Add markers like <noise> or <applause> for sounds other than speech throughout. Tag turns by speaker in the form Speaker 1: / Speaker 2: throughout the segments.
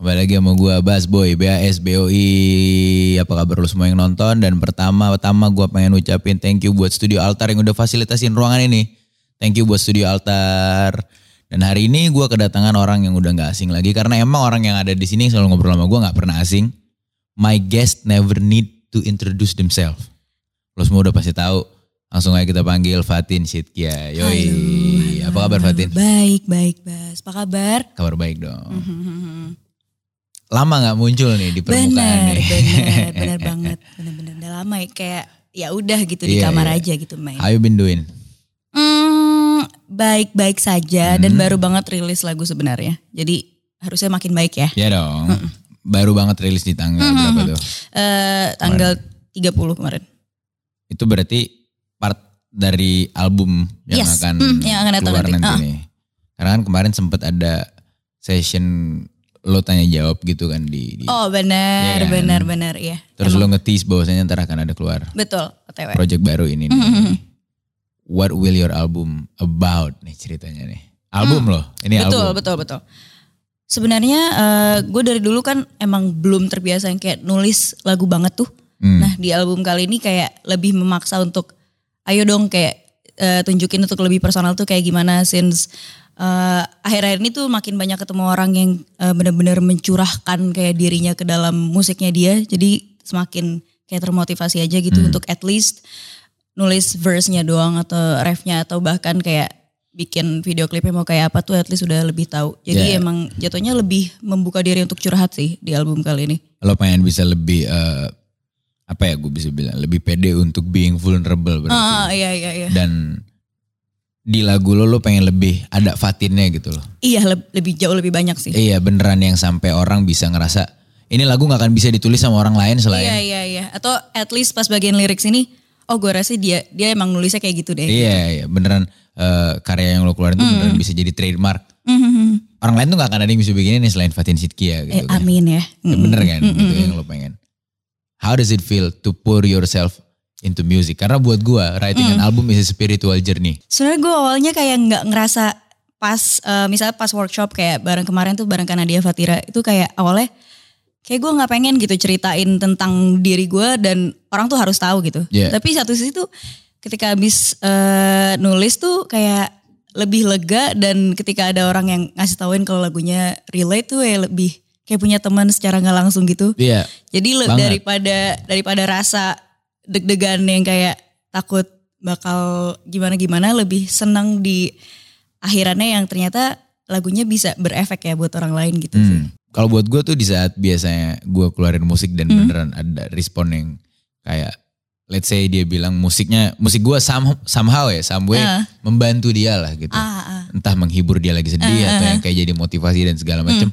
Speaker 1: Kembali lagi sama gue Bas Boy, BAS BOI. Apa kabar lu semua yang nonton? Dan pertama-tama gue pengen ucapin thank you buat Studio Altar yang udah fasilitasin ruangan ini. Thank you buat Studio Altar. Dan hari ini gue kedatangan orang yang udah nggak asing lagi karena emang orang yang ada di sini yang selalu ngobrol sama gue nggak pernah asing. My guest never need to introduce themselves. Lo semua udah pasti tahu. Langsung aja kita panggil Fatin Sitkia. Yoi,
Speaker 2: Halo,
Speaker 1: apa
Speaker 2: halo,
Speaker 1: kabar
Speaker 2: halo.
Speaker 1: Fatin?
Speaker 2: Baik, baik, Bas. Apa kabar?
Speaker 1: Kabar baik dong. Hmm. Lama nggak muncul nih di permukaan
Speaker 2: Benar,
Speaker 1: nih. <laughs>
Speaker 2: benar, benar banget. Benar-benar udah lama ya kayak ya udah gitu di
Speaker 1: Iya,
Speaker 2: kamar
Speaker 1: iya.
Speaker 2: aja gitu main.
Speaker 1: How you been doing?
Speaker 2: Hmm, baik-baik saja
Speaker 1: Hmm.
Speaker 2: dan baru banget rilis lagu sebenarnya. Jadi harusnya makin baik ya.
Speaker 1: Ya dong. Baru banget rilis di tanggal
Speaker 2: Mm-mm.
Speaker 1: berapa tuh?
Speaker 2: Eh tanggal 30 kemarin.
Speaker 1: Itu berarti part dari album yang
Speaker 2: Yes.
Speaker 1: akan
Speaker 2: Mm, yang akan datang
Speaker 1: keluar nanti,
Speaker 2: nanti. Ah.
Speaker 1: nih. Karena kan kemarin sempat ada session lo tanya jawab gitu kan di, di-
Speaker 2: Oh, benar,
Speaker 1: Iya kan?
Speaker 2: benar, benar ya.
Speaker 1: terus lo ngetis bahwasanya ntar akan ada keluar
Speaker 2: Betul, OTW.
Speaker 1: project baru ini nih.
Speaker 2: Mm-mm.
Speaker 1: What will your album about nih ceritanya nih? Album loh, ini
Speaker 2: Mm. betul,
Speaker 1: album.
Speaker 2: betul, betul. Sebenarnya gue dari dulu kan emang belum terbiasa yang kayak nulis lagu banget tuh.
Speaker 1: Hmm.
Speaker 2: Nah di album kali ini kayak lebih memaksa untuk ayo dong kayak eh, tunjukin untuk lebih personal tuh kayak gimana since eh, akhir-akhir ini tuh makin banyak ketemu orang yang eh, benar-benar mencurahkan kayak dirinya ke dalam musiknya dia. Jadi semakin kayak termotivasi aja gitu
Speaker 1: Hmm.
Speaker 2: untuk at least nulis verse-nya doang atau ref-nya atau bahkan kayak bikin video klipnya mau kayak apa tuh at least udah lebih tahu. Jadi
Speaker 1: Yeah.
Speaker 2: emang jatuhnya lebih membuka diri untuk curhat sih di album kali ini.
Speaker 1: Lo pengen bisa lebih eh, apa ya gue bisa bilang lebih pede untuk being vulnerable berarti.
Speaker 2: Ah, iya iya iya.
Speaker 1: dan di lagu lo lo pengen lebih ada fatinnya gitu loh.
Speaker 2: Iya leb- lebih jauh lebih banyak sih.
Speaker 1: Iya beneran yang sampai orang bisa ngerasa ini lagu nggak akan bisa ditulis sama orang lain
Speaker 2: Iya
Speaker 1: selain
Speaker 2: iya iya. Atau at least pas bagian lirik sini, oh gue rasa dia dia emang nulisnya kayak gitu deh.
Speaker 1: iya iya beneran eh, karya yang lo keluarin itu beneran bisa jadi trademark.
Speaker 2: Mhm.
Speaker 1: Orang lain tuh nggak akan ada yang bisa bikin ini selain Fatin Sidkia
Speaker 2: Eh,
Speaker 1: gitu. kan.
Speaker 2: amin ya.
Speaker 1: Ya,
Speaker 2: Mhm.
Speaker 1: bener kan gitu yang lo pengen. How does it feel to pour yourself into music? Karena buat gua writing
Speaker 2: Mm.
Speaker 1: an album is a spiritual journey.
Speaker 2: Sebenarnya gue awalnya kayak nggak ngerasa pas eh, misalnya pas workshop kayak bareng kemarin tuh bareng Kanadia Fatira itu kayak awalnya kayak gue nggak pengen gitu ceritain tentang diri gue dan orang tuh harus tahu gitu.
Speaker 1: Iya.
Speaker 2: Tapi satu sisi tuh ketika habis eh, nulis tuh kayak lebih lega dan ketika ada orang yang ngasih tauin kalau lagunya relate tuh ya lebih kayak punya teman secara nggak langsung gitu.
Speaker 1: Iya.
Speaker 2: Jadi le-
Speaker 1: Banget.
Speaker 2: daripada daripada rasa deg-degan yang kayak takut bakal gimana-gimana lebih senang di akhirannya yang ternyata lagunya bisa berefek ya buat orang lain gitu sih.
Speaker 1: Hmm. Kalau buat gue tuh di saat biasanya gue keluarin musik
Speaker 2: Hmm.
Speaker 1: dan beneran ada respon yang kayak let's say dia bilang musiknya musik gue somehow, somehow ya someway
Speaker 2: Ah.
Speaker 1: membantu dia lah gitu.
Speaker 2: Ah, ah.
Speaker 1: Entah menghibur dia lagi sedih
Speaker 2: Ah,
Speaker 1: atau
Speaker 2: ah, Hmm.
Speaker 1: yang kayak jadi motivasi dan segala macam.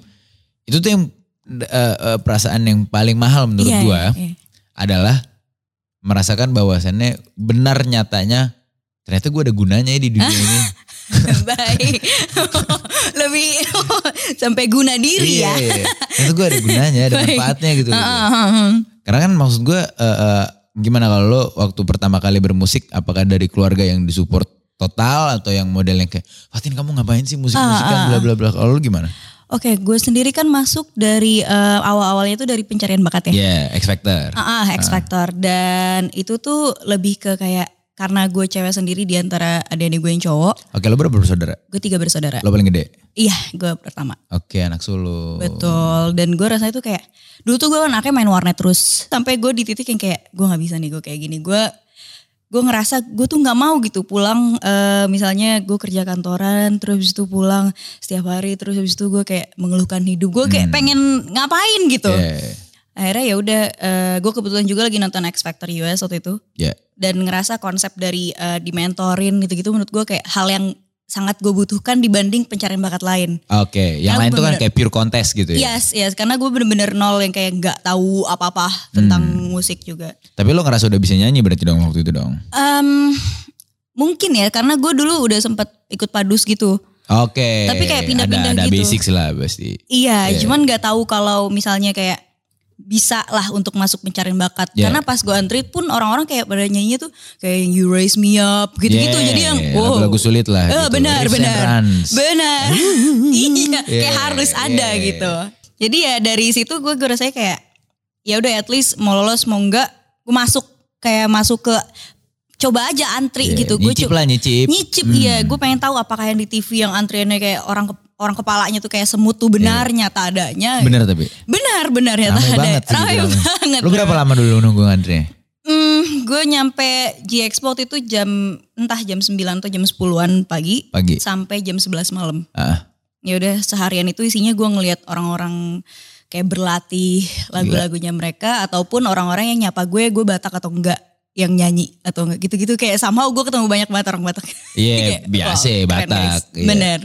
Speaker 1: Itu tuh yang eh, eh, perasaan yang paling mahal menurut ya.
Speaker 2: Iya,
Speaker 1: gue
Speaker 2: iya, <laughs> iya.
Speaker 1: adalah merasakan bahwasannya benar nyatanya ternyata gue ada gunanya ya di
Speaker 2: Ah,
Speaker 1: dunia
Speaker 2: <laughs>
Speaker 1: ini.
Speaker 2: iya. Baik. <laughs> lebih <laughs> sampai guna diri ya.
Speaker 1: iya. Ternyata gue ada gunanya, ada
Speaker 2: <laughs> Baik.
Speaker 1: manfaatnya gitu.
Speaker 2: Ah, ah, ah, ah.
Speaker 1: Karena kan maksud gue eh, eh, gimana kalau lo waktu pertama kali bermusik apakah dari keluarga yang disupport total atau yang modelnya kayak Fatin kamu ngapain sih musik-musikan
Speaker 2: Ah, ah,
Speaker 1: bla bla bla kalau lo gimana?
Speaker 2: Oke, gue sendiri kan masuk dari eh, awal-awalnya itu dari pencarian bakat ya.
Speaker 1: Ya, X Factor.
Speaker 2: Ah, ah, X Factor dan itu tuh lebih ke kayak karena gue cewek sendiri di antara adik-adik gue yang cowok,
Speaker 1: Oke, lo berapa bersaudara?
Speaker 2: gue tiga bersaudara.
Speaker 1: Lo paling gede.
Speaker 2: Iya, gue pertama.
Speaker 1: Oke, anak sulung.
Speaker 2: Betul. Dan gue rasanya tuh kayak dulu tuh gue anaknya main warnet terus sampai gue di titik yang kayak gue nggak bisa nih gue kayak gini. Gue gue ngerasa gue tuh nggak mau gitu pulang eh, misalnya gue kerja kantoran terus habis itu pulang setiap hari terus habis itu gue kayak mengeluhkan hidup gue
Speaker 1: Hmm.
Speaker 2: kayak pengen ngapain gitu
Speaker 1: Ya,
Speaker 2: akhirnya ya udah eh, gue kebetulan juga lagi nonton X Factor US waktu itu
Speaker 1: ya.
Speaker 2: dan ngerasa konsep dari eh, di mentorin gitu-gitu menurut gue kayak hal yang sangat gue butuhkan dibanding pencarian bakat lain.
Speaker 1: Oke, yang
Speaker 2: Karena
Speaker 1: lain tuh kan
Speaker 2: bener- Iya.
Speaker 1: kayak pure contest gitu ya.
Speaker 2: Yes, yes, karena gue bener-bener nol yang kayak nggak tahu apa-apa tentang musik juga.
Speaker 1: Tapi lo ngerasa udah bisa nyanyi berarti dong waktu itu dong.
Speaker 2: Em, mungkin ya, karena gue dulu udah sempat ikut padus gitu.
Speaker 1: Oke.
Speaker 2: Tapi kayak pindah-pindah
Speaker 1: ada, ada
Speaker 2: gitu.
Speaker 1: basics lah pasti.
Speaker 2: Iya,
Speaker 1: Iya.
Speaker 2: cuman nggak tahu kalau misalnya kayak bisa lah untuk masuk pencarian bakat.
Speaker 1: Iya.
Speaker 2: Karena pas gue antri pun orang-orang kayak pada nyanyinya tuh kayak yang you raise me up gitu-gitu.
Speaker 1: Yeah,
Speaker 2: Jadi yang wow.
Speaker 1: Iya, lagu-lagu sulit lah.
Speaker 2: Eh,
Speaker 1: gitu.
Speaker 2: benar,
Speaker 1: Riffs and <laughs>
Speaker 2: benar.
Speaker 1: runs.
Speaker 2: Benar. iya,
Speaker 1: Yeah,
Speaker 2: kayak harus ada
Speaker 1: yeah.
Speaker 2: gitu. Jadi ya dari situ gue gue rasanya kayak ya udah at least mau lolos mau enggak gue masuk kayak masuk ke coba aja antri
Speaker 1: Iya,
Speaker 2: gitu. Gue
Speaker 1: nyicip
Speaker 2: cu-
Speaker 1: lah Hmm. nyicip.
Speaker 2: nyicip iya. Gue pengen tahu apakah yang di TV yang antriannya kayak orang ke- orang kepalanya tuh kayak semut tuh benar nyata adanya. <laughs>
Speaker 1: Bener tapi.
Speaker 2: Benar benar nyata
Speaker 1: Ramai
Speaker 2: ada.
Speaker 1: banget sih.
Speaker 2: Ramai
Speaker 1: dibilangnya.
Speaker 2: banget.
Speaker 1: Lu berapa lama dulu nunggu antrinya?
Speaker 2: Hmm, gue nyampe G Expo waktu itu jam entah jam 9 atau jam 10-an pagi
Speaker 1: Pagi.
Speaker 2: sampai jam 11 malam.
Speaker 1: Ah,
Speaker 2: Ya udah seharian itu isinya gue ngelihat orang-orang kayak berlatih lagu-lagunya mereka ataupun orang-orang yang nyapa gue, gue Batak atau enggak yang nyanyi atau enggak gitu-gitu kayak sama gue ketemu banyak banget orang Batak.
Speaker 1: Iya,
Speaker 2: <laughs> Kayak,
Speaker 1: biasa
Speaker 2: wow, keren,
Speaker 1: Batak.
Speaker 2: guys.
Speaker 1: iya.
Speaker 2: Bener.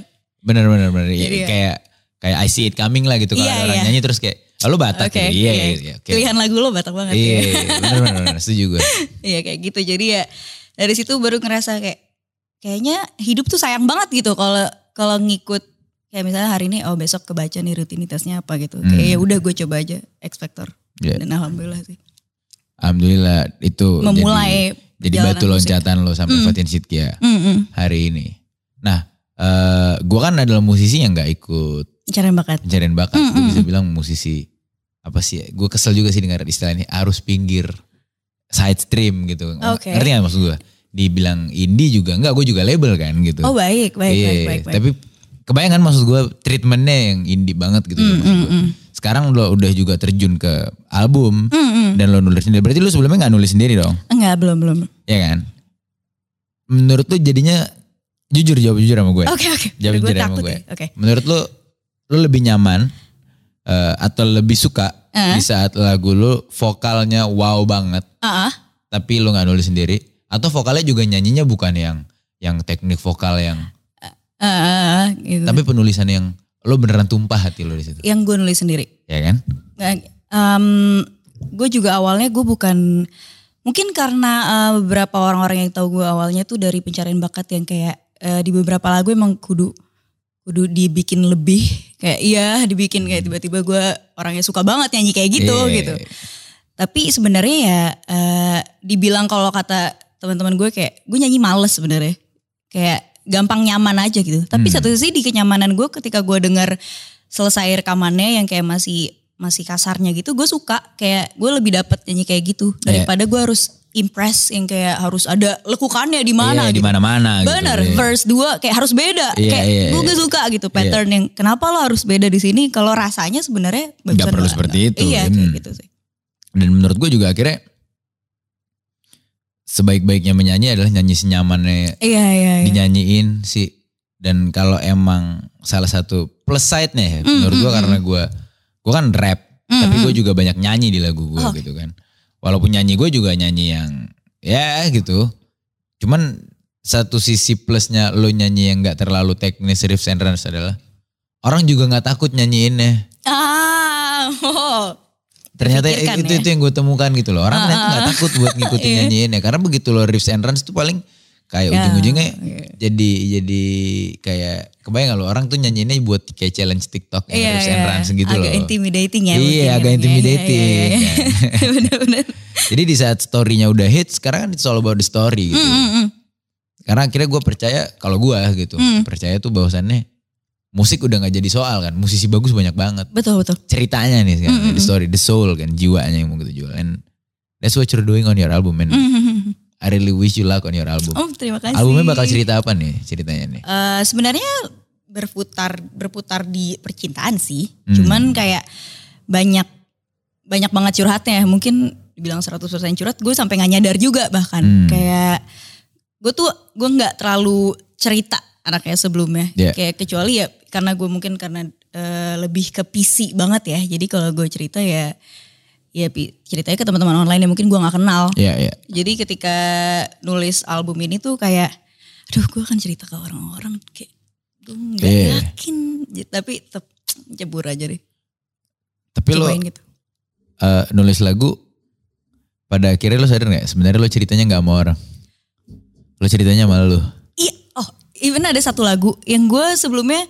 Speaker 1: Bener bener bener. Iya,
Speaker 2: Jadi ya.
Speaker 1: Kayak kayak I see it coming lah gitu kalau
Speaker 2: Iya,
Speaker 1: ada orang
Speaker 2: iya.
Speaker 1: nyanyi terus kayak, "Ah, lu Batak."
Speaker 2: Oke.
Speaker 1: ya? Iya, iya, iya. oke.
Speaker 2: Pilihan lagu lo Batak banget.
Speaker 1: Iya,
Speaker 2: ya.
Speaker 1: iya, bener bener bener. Setuju gue.
Speaker 2: Iya kayak gitu. Jadi ya dari situ baru ngerasa kayak kayaknya hidup tuh sayang banget gitu kalau kalau ngikut kayak misalnya hari ini oh besok kebaca nih rutinitasnya apa gitu. Kayak
Speaker 1: Hmm.
Speaker 2: ya udah gue coba aja ekspektor.
Speaker 1: Iya.
Speaker 2: Dan alhamdulillah sih
Speaker 1: Alhamdulillah itu jadi-
Speaker 2: memulai
Speaker 1: jadi,
Speaker 2: perjalanan
Speaker 1: batu
Speaker 2: musik.
Speaker 1: loncatan lo sampai
Speaker 2: Mm.
Speaker 1: Fatin Sidkia
Speaker 2: Mm-mm.
Speaker 1: hari ini. Nah, eh gua kan adalah musisi yang nggak ikut
Speaker 2: Pencarian bakat.
Speaker 1: pencarian bakat.
Speaker 2: Mm,
Speaker 1: Gue
Speaker 2: mm,
Speaker 1: bisa bilang musisi apa sih? Gue kesel juga sih dengar istilah ini arus pinggir, side stream gitu.
Speaker 2: Oke.
Speaker 1: Ngerti gak maksud gue? Dibilang indie juga enggak, gue juga label kan gitu.
Speaker 2: Oh baik, baik,
Speaker 1: Iya,
Speaker 2: baik, baik, baik.
Speaker 1: Tapi kebayangan maksud gue treatmentnya yang indie banget gitu.
Speaker 2: Mm,
Speaker 1: loh maksud
Speaker 2: mm,
Speaker 1: gua.
Speaker 2: mm.
Speaker 1: Sekarang lo udah juga terjun ke album
Speaker 2: Mm, mm.
Speaker 1: dan lo nulis sendiri. Berarti lo sebelumnya nggak nulis sendiri dong,
Speaker 2: Enggak, belum, belum.
Speaker 1: ya kan? Menurut lo jadinya jujur jawab jujur sama ya? gue.
Speaker 2: Oke, oke.
Speaker 1: Jangan
Speaker 2: Gue
Speaker 1: bicara sama
Speaker 2: takut
Speaker 1: gue.
Speaker 2: ya. Oke.
Speaker 1: Menurut lo, lo lebih nyaman eh, atau lebih suka
Speaker 2: Eh.
Speaker 1: di saat lagu lo vokalnya wow banget,
Speaker 2: Ah, ah.
Speaker 1: tapi lo nggak nulis sendiri, atau vokalnya juga nyanyinya bukan yang yang teknik vokal yang,
Speaker 2: Ah, ah, ah, gitu.
Speaker 1: tapi penulisan yang lo beneran tumpah hati lo di situ,
Speaker 2: Yang gue nulis sendiri.
Speaker 1: ya kan?
Speaker 2: gue juga awalnya gue bukan mungkin karena eh, beberapa orang-orang yang tahu gue awalnya tuh dari pencarian bakat yang kayak eh, di beberapa lagu emang kudu kudu dibikin lebih kayak iya dibikin kayak tiba-tiba gue orangnya suka banget nyanyi kayak gitu
Speaker 1: Iya.
Speaker 2: gitu tapi sebenarnya ya eh, dibilang kalau kata teman-teman gue kayak gue nyanyi males sebenarnya kayak gampang nyaman aja gitu tapi
Speaker 1: Hmm.
Speaker 2: satu sisi di kenyamanan gue ketika gue dengar selesai rekamannya yang kayak masih masih kasarnya gitu gue suka kayak gue lebih dapat nyanyi kayak gitu
Speaker 1: Iya.
Speaker 2: daripada gue harus impress yang kayak harus ada lekukannya di
Speaker 1: Iya,
Speaker 2: mana
Speaker 1: di
Speaker 2: gitu.
Speaker 1: mana-mana gitu.
Speaker 2: Bener,
Speaker 1: Iya.
Speaker 2: verse 2 kayak harus beda.
Speaker 1: Iya,
Speaker 2: kayak
Speaker 1: iya,
Speaker 2: gue
Speaker 1: iya.
Speaker 2: gak suka gitu pattern yang kenapa lo harus beda di sini kalau rasanya sebenarnya
Speaker 1: Nggak
Speaker 2: bagusan
Speaker 1: perlu
Speaker 2: lo-
Speaker 1: seperti itu.
Speaker 2: Iya, kayak
Speaker 1: Hmm.
Speaker 2: gitu sih.
Speaker 1: Dan menurut gue juga akhirnya sebaik-baiknya menyanyi adalah nyanyi senyamannya
Speaker 2: Iya, iya, iya.
Speaker 1: dinyanyiin sih dan kalau emang salah satu plus side-nya ya,
Speaker 2: Mm,
Speaker 1: menurut gua
Speaker 2: mm,
Speaker 1: karena gua gua kan rap
Speaker 2: Mm,
Speaker 1: tapi gua
Speaker 2: mm.
Speaker 1: juga banyak nyanyi di lagu gua
Speaker 2: Oke.
Speaker 1: gitu kan walaupun nyanyi gua juga nyanyi yang ya gitu cuman satu sisi plusnya lo nyanyi yang nggak terlalu teknis riffs and runs adalah orang juga nggak takut nyanyiinnya
Speaker 2: Ah, <laughs> oh.
Speaker 1: ternyata itu
Speaker 2: Terpikirkan ya. Ah,
Speaker 1: itu yang gue temukan gitu loh orang ternyata nggak takut
Speaker 2: <laughs>
Speaker 1: buat ngikutin
Speaker 2: Iya.
Speaker 1: nyanyiinnya karena begitu lo riffs and runs itu paling kayak
Speaker 2: Ya,
Speaker 1: ujung-ujungnya
Speaker 2: iya.
Speaker 1: jadi jadi kayak kebayang gak lo orang tuh nyanyiinnya buat kayak challenge TikTok yang
Speaker 2: Iya,
Speaker 1: riffs and
Speaker 2: iya.
Speaker 1: runs gitu
Speaker 2: agak
Speaker 1: loh.
Speaker 2: intimidating ya. mungkin
Speaker 1: Iya,
Speaker 2: ya,
Speaker 1: agak
Speaker 2: iya,
Speaker 1: intimidating.
Speaker 2: Iya, iya, iya. <laughs> Bener-bener.
Speaker 1: Jadi di saat story-nya udah hits, sekarang kan it's all about the story gitu.
Speaker 2: Mm, mm, mm.
Speaker 1: Karena akhirnya gue percaya kalau gue gitu,
Speaker 2: Hmm.
Speaker 1: percaya tuh bahwasannya musik udah nggak jadi soal kan. Musisi bagus banyak banget.
Speaker 2: Betul, betul.
Speaker 1: Ceritanya nih sekarang,
Speaker 2: Hmm,
Speaker 1: the story, the soul kan, jiwanya yang mau gitu jual. And that's what you're doing on your album man.
Speaker 2: Mm, mm, mm.
Speaker 1: I really wish you luck on your album.
Speaker 2: Oh, terima kasih.
Speaker 1: Albumnya bakal cerita apa nih ceritanya nih?
Speaker 2: Eh, sebenarnya berputar berputar di percintaan sih.
Speaker 1: Hmm.
Speaker 2: Cuman kayak banyak banyak banget curhatnya. Mungkin dibilang 100% curhat, gue sampai nggak nyadar juga bahkan.
Speaker 1: Hmm.
Speaker 2: Kayak gue tuh gue nggak terlalu cerita anaknya sebelumnya.
Speaker 1: Iya.
Speaker 2: Kayak kecuali ya karena gue mungkin karena eh, lebih ke PC banget ya. Jadi kalau gue cerita ya ya pi- ceritanya ke teman-teman online yang mungkin gue nggak kenal.
Speaker 1: Iya, iya.
Speaker 2: Jadi ketika nulis album ini tuh kayak, aduh gue akan cerita ke orang-orang kayak gue nggak
Speaker 1: Iya.
Speaker 2: yakin, J- tapi tetep cebur aja deh,
Speaker 1: Tapi lo
Speaker 2: cobain gitu.
Speaker 1: eh, nulis lagu, pada akhirnya lo sadar gak? Sebenarnya lo ceritanya gak sama orang. Lo ceritanya sama lo.
Speaker 2: Iya, oh even ada satu lagu yang gue sebelumnya,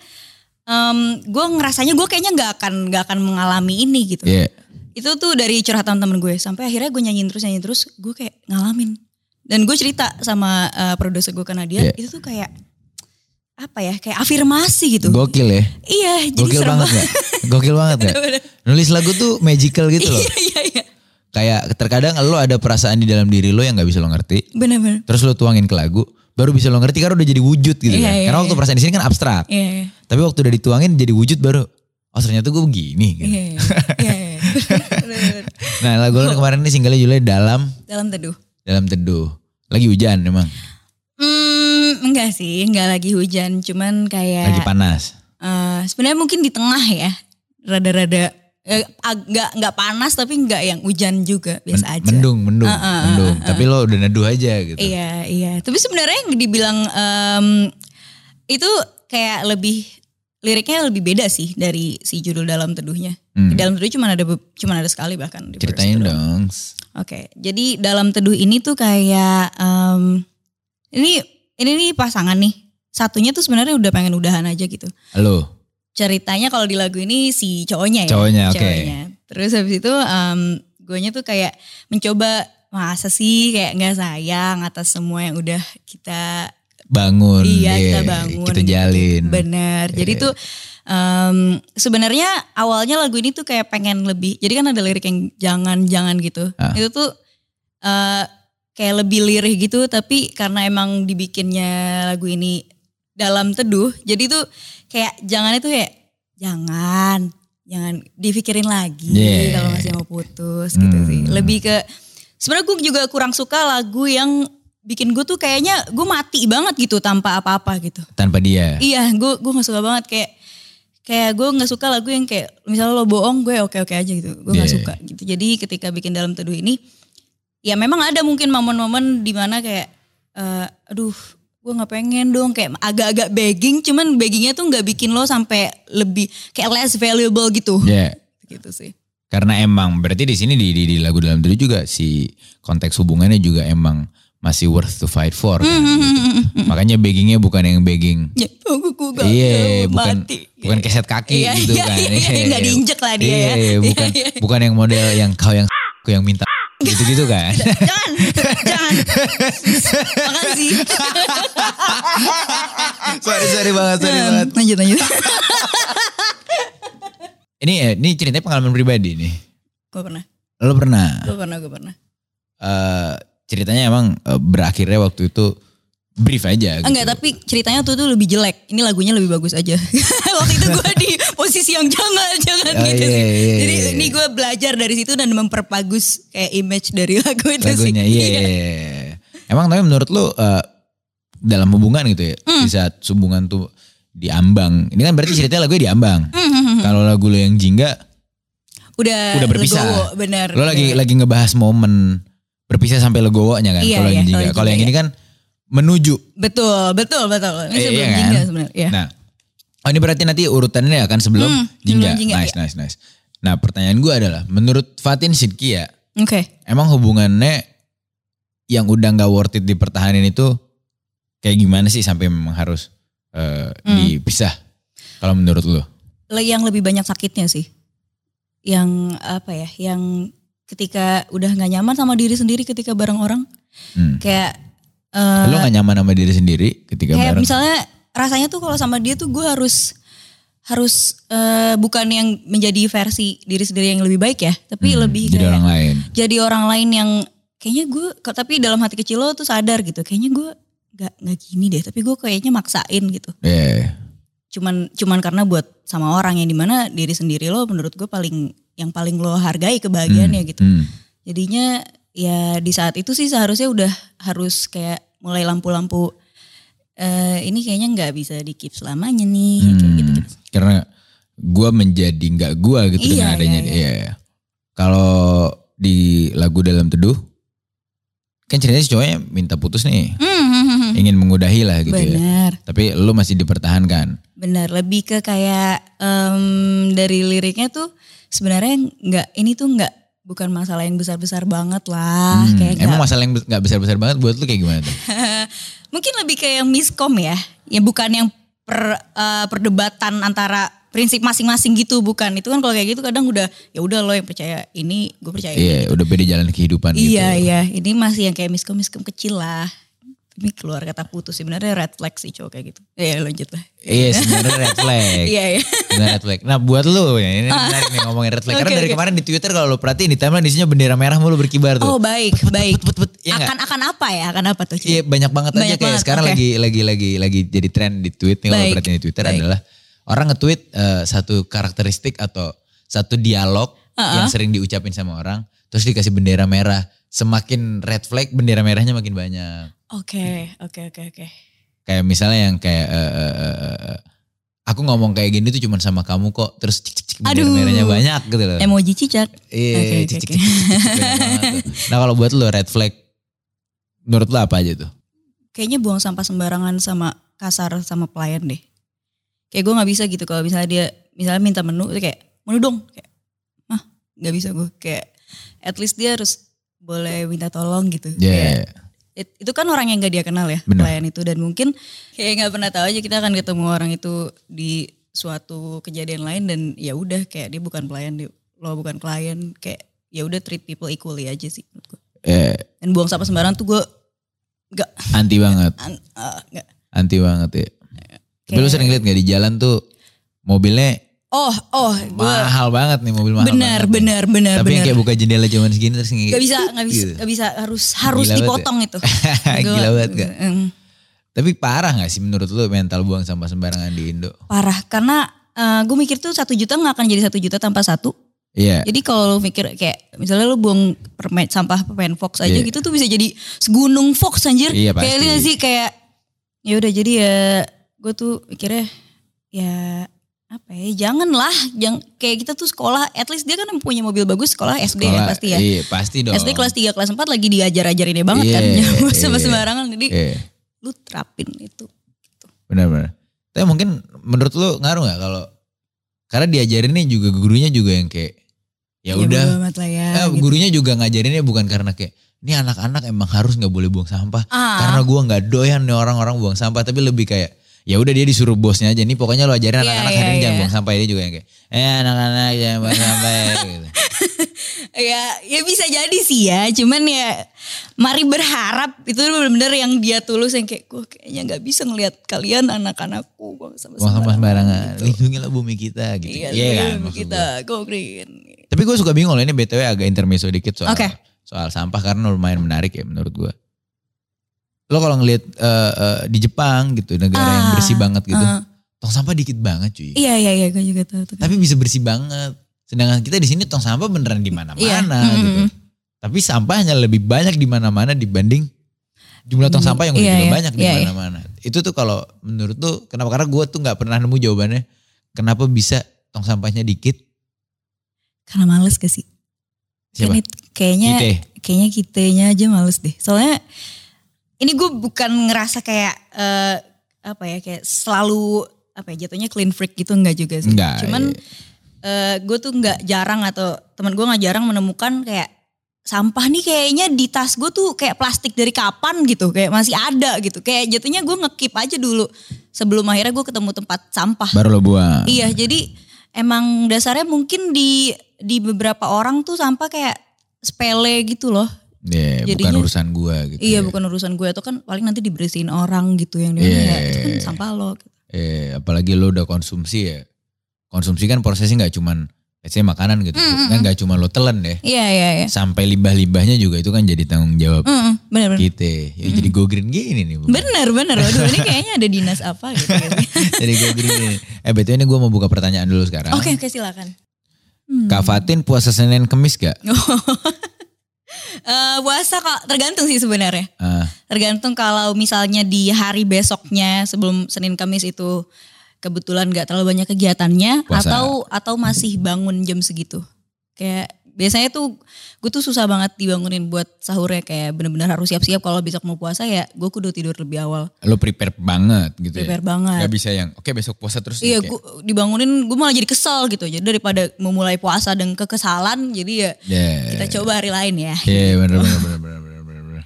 Speaker 2: em, gue ngerasanya gue kayaknya nggak akan nggak akan mengalami ini gitu.
Speaker 1: Iya.
Speaker 2: Itu tuh dari curhatan temen gue sampai akhirnya gue nyanyiin terus nyanyiin terus, gue kayak ngalamin. Dan gue cerita sama eh, produser gue karena
Speaker 1: Iya.
Speaker 2: dia itu tuh kayak apa ya kayak afirmasi gitu.
Speaker 1: Gokil ya.
Speaker 2: Iya, jadi
Speaker 1: Gokil
Speaker 2: serem <laughs>
Speaker 1: banget gak? Gokil banget ya. Nulis lagu tuh magical gitu loh.
Speaker 2: Iya, iya, iya.
Speaker 1: Kayak terkadang lo ada perasaan di dalam diri lo yang gak bisa lo ngerti.
Speaker 2: Benar-benar.
Speaker 1: Terus lo tuangin ke lagu. Baru bisa lo ngerti karena udah jadi wujud gitu
Speaker 2: Iya,
Speaker 1: kan.
Speaker 2: iya,
Speaker 1: Karena waktu perasaan di sini kan abstrak.
Speaker 2: Iya, iya.
Speaker 1: Tapi waktu udah dituangin jadi wujud baru. Oh ternyata gue begini gitu.
Speaker 2: Iya, iya,
Speaker 1: <laughs>
Speaker 2: iya, iya. Benar-benar.
Speaker 1: Nah lagu
Speaker 2: Iya.
Speaker 1: lo kemarin ini singlenya judulnya Dalam
Speaker 2: Dalam teduh.
Speaker 1: Dalam Teduh. Lagi hujan emang.
Speaker 2: Hmm, enggak sih, enggak lagi hujan, cuman
Speaker 1: Lagi
Speaker 2: kayak
Speaker 1: panas.
Speaker 2: eh, sebenarnya mungkin di tengah ya, rada-rada eh, ag- enggak enggak panas tapi enggak yang hujan juga biasa aja.
Speaker 1: Mendung, mendung,
Speaker 2: Ah, ah,
Speaker 1: mendung. Tapi lo udah neduh aja gitu.
Speaker 2: Iya, iya. Tapi sebenarnya yang dibilang em, itu kayak lebih liriknya lebih beda sih dari si judul dalam teduhnya. Di dalam teduh cuman ada be- cuman ada sekali bahkan di verse
Speaker 1: Hmm, Ceritain
Speaker 2: kedua.
Speaker 1: dong.
Speaker 2: Oke, jadi dalam teduh ini tuh kayak em, ini ini nih pasangan nih. Satunya tuh sebenarnya udah pengen udahan aja gitu.
Speaker 1: Lo.
Speaker 2: Ceritanya kalau di lagu ini si cowoknya ya.
Speaker 1: Cowoknya, oke.
Speaker 2: Cowoknya. Terus habis itu em guanya tuh kayak mencoba masa sih kayak nggak sayang atas semua yang udah kita
Speaker 1: Bangun.
Speaker 2: iya
Speaker 1: iya.
Speaker 2: kita bangun
Speaker 1: Kita jalin.
Speaker 2: bener
Speaker 1: Iya.
Speaker 2: jadi tuh em, sebenarnya awalnya lagu ini tuh kayak pengen lebih jadi kan ada lirik yang jangan jangan gitu
Speaker 1: Ah.
Speaker 2: itu tuh eh, kayak lebih lirih gitu tapi karena emang dibikinnya lagu ini dalam teduh jadi tuh kayak jangan itu kayak jangan jangan dipikirin lagi
Speaker 1: Yeah.
Speaker 2: kalau masih mau putus gitu
Speaker 1: Hmm.
Speaker 2: sih lebih ke sebenarnya gue juga kurang suka lagu yang bikin gue tuh kayaknya gue mati banget gitu tanpa apa-apa gitu.
Speaker 1: Tanpa dia.
Speaker 2: Iya, gue gue nggak suka banget kayak kayak gue nggak suka lagu yang kayak misalnya lo bohong gue oke oke aja gitu. Gue nggak
Speaker 1: Iya.
Speaker 2: suka gitu. Jadi ketika bikin dalam teduh ini, ya memang ada mungkin momen-momen dimana kayak, eh, aduh gue nggak pengen dong kayak agak-agak begging, cuman beggingnya tuh nggak bikin lo sampai lebih kayak less valuable gitu.
Speaker 1: Ya.
Speaker 2: Gitu sih. <laughs>
Speaker 1: Karena emang berarti di sini di, di, di lagu dalam diri juga si konteks hubungannya juga emang masih worth to fight for. kan,
Speaker 2: Mhm.
Speaker 1: gitu. Makanya beggingnya bukan yang begging.
Speaker 2: Ya, gue gue gak
Speaker 1: Iya, bukan
Speaker 2: mati.
Speaker 1: bukan keset kaki
Speaker 2: Iya,
Speaker 1: gitu
Speaker 2: iya,
Speaker 1: kan.
Speaker 2: iya, iya, nggak diinjek lah dia
Speaker 1: Iya,
Speaker 2: ya.
Speaker 1: iya, bukan
Speaker 2: Iya, iya.
Speaker 1: bukan yang model yang kau yang aku yang
Speaker 2: <laughs>
Speaker 1: minta gitu-gitu kan.
Speaker 2: jangan,
Speaker 1: <laughs>
Speaker 2: jangan. Makasih.
Speaker 1: sorry sorry banget, sorry banget.
Speaker 2: lanjut, lanjut.
Speaker 1: Ini eh, ini ceritanya pengalaman pribadi nih.
Speaker 2: gue pernah,
Speaker 1: Lo pernah
Speaker 2: gue pernah, gue pernah.
Speaker 1: eh, ceritanya emang eh, berakhirnya waktu itu brief aja gitu.
Speaker 2: Enggak, tapi ceritanya tuh tuh lebih jelek. Ini lagunya lebih bagus aja. <laughs> Waktu itu gue di posisi yang jangan, <laughs> jangan
Speaker 1: Oh,
Speaker 2: gitu.
Speaker 1: iya,
Speaker 2: sih.
Speaker 1: iya,
Speaker 2: Jadi
Speaker 1: iya,
Speaker 2: ini gue belajar dari situ dan memperbagus kayak image dari lagu itu sih.
Speaker 1: lagunya iya emang tapi menurut lu eh, dalam hubungan gitu ya
Speaker 2: Hmm.
Speaker 1: di saat hubungan tuh diambang ini kan berarti ceritanya lagunya diambang
Speaker 2: Hmm.
Speaker 1: kalau lagu lu yang jingga
Speaker 2: <laughs> Udah,
Speaker 1: Udah berpisah.
Speaker 2: legowo, bener.
Speaker 1: lo lagi
Speaker 2: bener.
Speaker 1: lagi ngebahas momen berpisah sampai legowonya kan
Speaker 2: Iya,
Speaker 1: kalau yang
Speaker 2: iya,
Speaker 1: jingga
Speaker 2: kalau
Speaker 1: kalau yang
Speaker 2: jingga,
Speaker 1: ini kan menuju
Speaker 2: Betul, betul, betul. Ini
Speaker 1: Eh,
Speaker 2: sebelum
Speaker 1: iya kan?
Speaker 2: jingga sebenarnya. Iya.
Speaker 1: nah oh ini berarti nanti urutannya akan sebelum
Speaker 2: Hmm,
Speaker 1: jingga,
Speaker 2: sebelum jingga,
Speaker 1: nice nice nice nah pertanyaan gue adalah menurut Fatin Sidkia
Speaker 2: Oke.
Speaker 1: emang hubungannya yang udah nggak worth it dipertahanin itu kayak gimana sih sampai memang harus eh,
Speaker 2: Hmm.
Speaker 1: dipisah kalau menurut lo?
Speaker 2: Le- yang lebih banyak sakitnya sih. Yang apa ya, yang ketika udah nggak nyaman sama diri sendiri ketika bareng orang.
Speaker 1: Hmm.
Speaker 2: Kayak eh,
Speaker 1: lo nggak nyaman sama diri sendiri ketika
Speaker 2: kayak
Speaker 1: bareng?
Speaker 2: misalnya rasanya tuh kalau sama dia tuh gue harus harus eh, bukan yang menjadi versi diri sendiri yang lebih baik ya, tapi
Speaker 1: Hmm,
Speaker 2: lebih
Speaker 1: jadi
Speaker 2: kayak
Speaker 1: orang lain.
Speaker 2: jadi orang lain yang kayaknya gue kok- tapi dalam hati kecil lo tuh sadar gitu, kayaknya gue nggak nggak gini deh, tapi gue kayaknya maksain gitu.
Speaker 1: Eh,
Speaker 2: cuman cuman karena buat sama orang yang dimana diri sendiri lo menurut gue paling yang paling lo hargai kebahagiaannya gitu
Speaker 1: hmm.
Speaker 2: jadinya ya di saat itu sih seharusnya udah harus kayak mulai lampu-lampu eh ini kayaknya nggak bisa di keep selamanya nih kayak
Speaker 1: Hmm,
Speaker 2: gitu, gitu.
Speaker 1: Karena gue menjadi nggak gue gitu
Speaker 2: Iya,
Speaker 1: dengan
Speaker 2: iya,
Speaker 1: adanya
Speaker 2: iya.
Speaker 1: dia. Iya, iya. Kalau di lagu dalam teduh kan ceritanya si cowoknya minta putus nih,
Speaker 2: Hmm, hmm, hmm, hmm.
Speaker 1: ingin mengudahi lah gitu ya.
Speaker 2: benar
Speaker 1: Tapi lo masih dipertahankan.
Speaker 2: benar lebih ke kayak em, dari liriknya tuh sebenarnya nggak ini tuh nggak bukan masalah yang besar-besar banget lah
Speaker 1: Hmm,
Speaker 2: Ah, kayak
Speaker 1: emang
Speaker 2: nggak-
Speaker 1: masalah yang nggak besar-besar banget buat lu kayak gimana tuh?
Speaker 2: <laughs> Mungkin lebih ke yang miskom ya. Ya bukan yang per, eh, perdebatan antara prinsip masing-masing gitu bukan. Itu kan kalau kayak gitu kadang udah ya udah lo yang percaya ini, gue percaya ini.
Speaker 1: Iya, udah beda jalan kehidupan gitu.
Speaker 2: Iya, iya. Ini masih yang kayak miskom-miskom kecil lah. Ini keluar kata putus sebenarnya red flag sih cowok kayak gitu. Ya Iya, lanjut lah.
Speaker 1: Iya, sebenarnya red flag.
Speaker 2: Iya, iya.
Speaker 1: Dengan red flag. Nah buat lu ya, ini menarik nih ngomongin red
Speaker 2: <laughs>
Speaker 1: flag. Karena
Speaker 2: Oke,
Speaker 1: dari
Speaker 2: oke.
Speaker 1: kemarin di Twitter kalau lu perhatiin di timeline isinya bendera merah mulu berkibar tuh.
Speaker 2: Oh baik, baik.
Speaker 1: bet, bet, iya nggak?
Speaker 2: akan akan apa ya? Akan apa tuh? Ci?
Speaker 1: Iya banyak banget aja
Speaker 2: Banyak
Speaker 1: kayak
Speaker 2: banget,
Speaker 1: sekarang
Speaker 2: oke.
Speaker 1: lagi lagi lagi lagi jadi tren di tweet nih kalau
Speaker 2: Baik,
Speaker 1: perhatiin di Twitter
Speaker 2: baik.
Speaker 1: adalah orang nge-tweet eh, satu karakteristik atau satu dialog yang sering diucapin sama orang terus dikasih bendera merah. Semakin red flag bendera merahnya makin banyak.
Speaker 2: Oke, oke, oke, oke.
Speaker 1: Kayak misalnya yang kayak eh, eh, eh, eh, eh, aku ngomong kayak gini tuh cuman sama kamu kok terus cik cik cik bendera
Speaker 2: Aduh.
Speaker 1: merahnya banyak gitu loh.
Speaker 2: Emoji cicak.
Speaker 1: Iya,
Speaker 2: Oke, oke,
Speaker 1: cik, cik, cik, cik,
Speaker 2: oke.
Speaker 1: cik, banyak banget tuh. Nah kalau buat lo red flag, menurut lo apa aja tuh?
Speaker 2: Kayaknya buang sampah sembarangan sama kasar sama pelayan deh. Kayak gue nggak bisa gitu kalau misalnya dia misalnya minta menu itu kayak menu dong kayak mah nggak bisa gue kayak at least dia harus boleh minta tolong gitu. Kayak,
Speaker 1: Ya,
Speaker 2: it- itu kan orang yang gak dia kenal ya
Speaker 1: Benar.
Speaker 2: pelayan itu dan mungkin kayak nggak pernah tahu aja kita akan ketemu orang itu di suatu kejadian lain dan ya udah kayak dia bukan pelayan dia- lo bukan klien kayak ya udah treat people equally aja sih menurut gue.
Speaker 1: eh,
Speaker 2: dan buang sampah sembarang tuh gue nggak
Speaker 1: anti banget,
Speaker 2: an- ah, nggak.
Speaker 1: anti banget ya. Tapi lo
Speaker 2: Kayak-
Speaker 1: sering liat gak di jalan tuh mobilnya
Speaker 2: oh oh gue
Speaker 1: mahal banget nih mobil mahal.
Speaker 2: benar
Speaker 1: banget nih.
Speaker 2: benar benar
Speaker 1: Tapi yang
Speaker 2: benar
Speaker 1: kayak buka jendela cuman segini terus ngigit.
Speaker 2: nggak bisa nggak bisa
Speaker 1: Gitu.
Speaker 2: nggak bisa harus harus
Speaker 1: Gila banget ya.
Speaker 2: dipotong itu
Speaker 1: <laughs>
Speaker 2: Gua-
Speaker 1: Gila banget gak?
Speaker 2: Mm.
Speaker 1: Tapi parah gak sih menurut lo mental buang sampah sembarangan di Indo?
Speaker 2: parah karena gue mikir tuh satu juta nggak akan jadi satu juta tanpa satu
Speaker 1: Iya.
Speaker 2: Jadi kalau lu mikir kayak misalnya lu buang permen sampah permen fox aja
Speaker 1: Iya.
Speaker 2: gitu tuh bisa jadi segunung fox anjir.
Speaker 1: Iya, pasti.
Speaker 2: kayak lu nggak sih kayak ya udah jadi ya gue tuh mikirnya ya apa ya janganlah jangan kayak kita tuh sekolah at least dia kan punya mobil bagus sekolah SD ya
Speaker 1: Sekolah-
Speaker 2: pasti ya.
Speaker 1: Iya pasti dong.
Speaker 2: SD kelas 3 kelas 4 lagi diajar-ajarinnya banget kan <laughs>
Speaker 1: Iya,
Speaker 2: nyawa sama
Speaker 1: iya.
Speaker 2: sembarangan jadi
Speaker 1: Iya.
Speaker 2: lu terapin itu.
Speaker 1: Benar-benar. Tapi mungkin menurut lu ngaruh nggak kalau karena diajarinnya juga gurunya juga yang kayak ya udah.
Speaker 2: bodo amat lah ya.
Speaker 1: Eh,
Speaker 2: gitu.
Speaker 1: Gurunya juga ngajarinnya bukan karena kayak ini anak-anak emang harus nggak boleh buang sampah.
Speaker 2: Ah.
Speaker 1: Karena gua nggak doyan nih orang-orang buang sampah. Tapi lebih kayak ya udah dia disuruh bosnya aja nih pokoknya lo ajarin
Speaker 2: Iya,
Speaker 1: anak-anak
Speaker 2: iya,
Speaker 1: hari ini jangan
Speaker 2: iya.
Speaker 1: buang sampah ini juga yang kayak eh anak-anak jangan buang
Speaker 2: <laughs>
Speaker 1: sampah ya, gitu.
Speaker 2: Ya, ya bisa jadi sih ya. Cuman ya, mari berharap itu benar-benar yang dia tulus yang kayak gue kayaknya nggak bisa ngelihat kalian anak-anakku buang sama
Speaker 1: buang sampah sembarangan lindungilah bumi kita gitu
Speaker 2: Gitu. Iya,
Speaker 1: iya,
Speaker 2: iya
Speaker 1: kan maksud gua.
Speaker 2: kita go green.
Speaker 1: Tapi gue suka bingung loh ini BTW agak intermezzo dikit soal
Speaker 2: Oke.
Speaker 1: soal sampah karena lumayan menarik ya menurut gue. Lo kalau ngelihat eh, eh, di Jepang gitu negara yang
Speaker 2: Ah,
Speaker 1: bersih banget gitu,
Speaker 2: ah.
Speaker 1: tong sampah dikit banget cuy.
Speaker 2: Iya iya iya, gue juga tahu. tuh.
Speaker 1: Tapi bisa bersih banget. Sedangkan kita di sini tong sampah beneran di mana-mana
Speaker 2: Iya,
Speaker 1: gitu.
Speaker 2: mm-mm.
Speaker 1: Tapi sampahnya lebih banyak di mana-mana dibanding jumlah tong sampah yang udah
Speaker 2: Iya,
Speaker 1: juga
Speaker 2: iya,
Speaker 1: banyak di
Speaker 2: iya, iya.
Speaker 1: mana-mana. Itu tuh kalau menurut tuh kenapa karena gue tuh nggak pernah nemu jawabannya kenapa bisa tong sampahnya dikit.
Speaker 2: Karena males gak sih?
Speaker 1: Siapa?
Speaker 2: Ini kayaknya
Speaker 1: Ite.
Speaker 2: kayaknya kitanya aja males deh. Soalnya ini gue bukan ngerasa kayak eh, apa ya kayak selalu apa ya jatuhnya clean freak gitu enggak juga sih.
Speaker 1: Enggak,
Speaker 2: Cuman eh, gue tuh nggak jarang atau teman gue nggak jarang menemukan kayak sampah nih kayaknya di tas gue tuh kayak plastik dari kapan gitu kayak masih ada gitu kayak jatuhnya gue ngekip aja dulu sebelum akhirnya gue ketemu tempat sampah
Speaker 1: Baru lo buang.
Speaker 2: Iya, jadi emang dasarnya mungkin di di beberapa orang tuh sampah kayak sepele gitu loh.
Speaker 1: Iya, bukan
Speaker 2: Jadinya-
Speaker 1: urusan gua gitu. ya.
Speaker 2: Iya, bukan urusan gue atau kan paling nanti dibersihin orang gitu yang dia
Speaker 1: Iya,
Speaker 2: ya,
Speaker 1: iya,
Speaker 2: itu kan
Speaker 1: iya.
Speaker 2: sampah lo.
Speaker 1: Eh, apalagi lo udah konsumsi ya. Konsumsi kan prosesnya nggak cuman let's say makanan gitu.
Speaker 2: Mm, mm,
Speaker 1: Kan nggak cuma lo telan deh.
Speaker 2: Iya, iya, iya.
Speaker 1: Sampai limbah-limbahnya juga itu kan jadi tanggung jawab
Speaker 2: Mm, bener bener.
Speaker 1: kita. Ya, Jadi go green gini nih. Bu.
Speaker 2: Bener bener. Waduh, ini kayaknya ada dinas apa gitu. ya.
Speaker 1: jadi go green gini. Eh betul ini gua mau buka pertanyaan dulu sekarang.
Speaker 2: Oke, oke silakan. Hmm.
Speaker 1: Kak Fatin puasa Senin Kemis gak?
Speaker 2: Eh, puasa kok tergantung sih sebenarnya.
Speaker 1: Ah,
Speaker 2: Tergantung kalau misalnya di hari besoknya sebelum Senin Kamis itu kebetulan nggak terlalu banyak kegiatannya
Speaker 1: Puasa.
Speaker 2: atau atau masih bangun jam segitu. Kayak biasanya tuh gue tuh susah banget dibangunin buat sahurnya kayak bener-bener harus siap-siap kalau besok mau puasa ya gue kudu tidur lebih awal.
Speaker 1: lo prepare banget gitu ya.
Speaker 2: Prepare banget.
Speaker 1: Gak bisa yang oke besok puasa terus.
Speaker 2: Iya,
Speaker 1: nih, kayak-
Speaker 2: gue dibangunin gue malah jadi kesel gitu. Jadi daripada memulai puasa dengan kekesalan, jadi ya
Speaker 1: Ya.
Speaker 2: kita coba hari lain ya.
Speaker 1: Iya bener bener bener bener bener bener bener.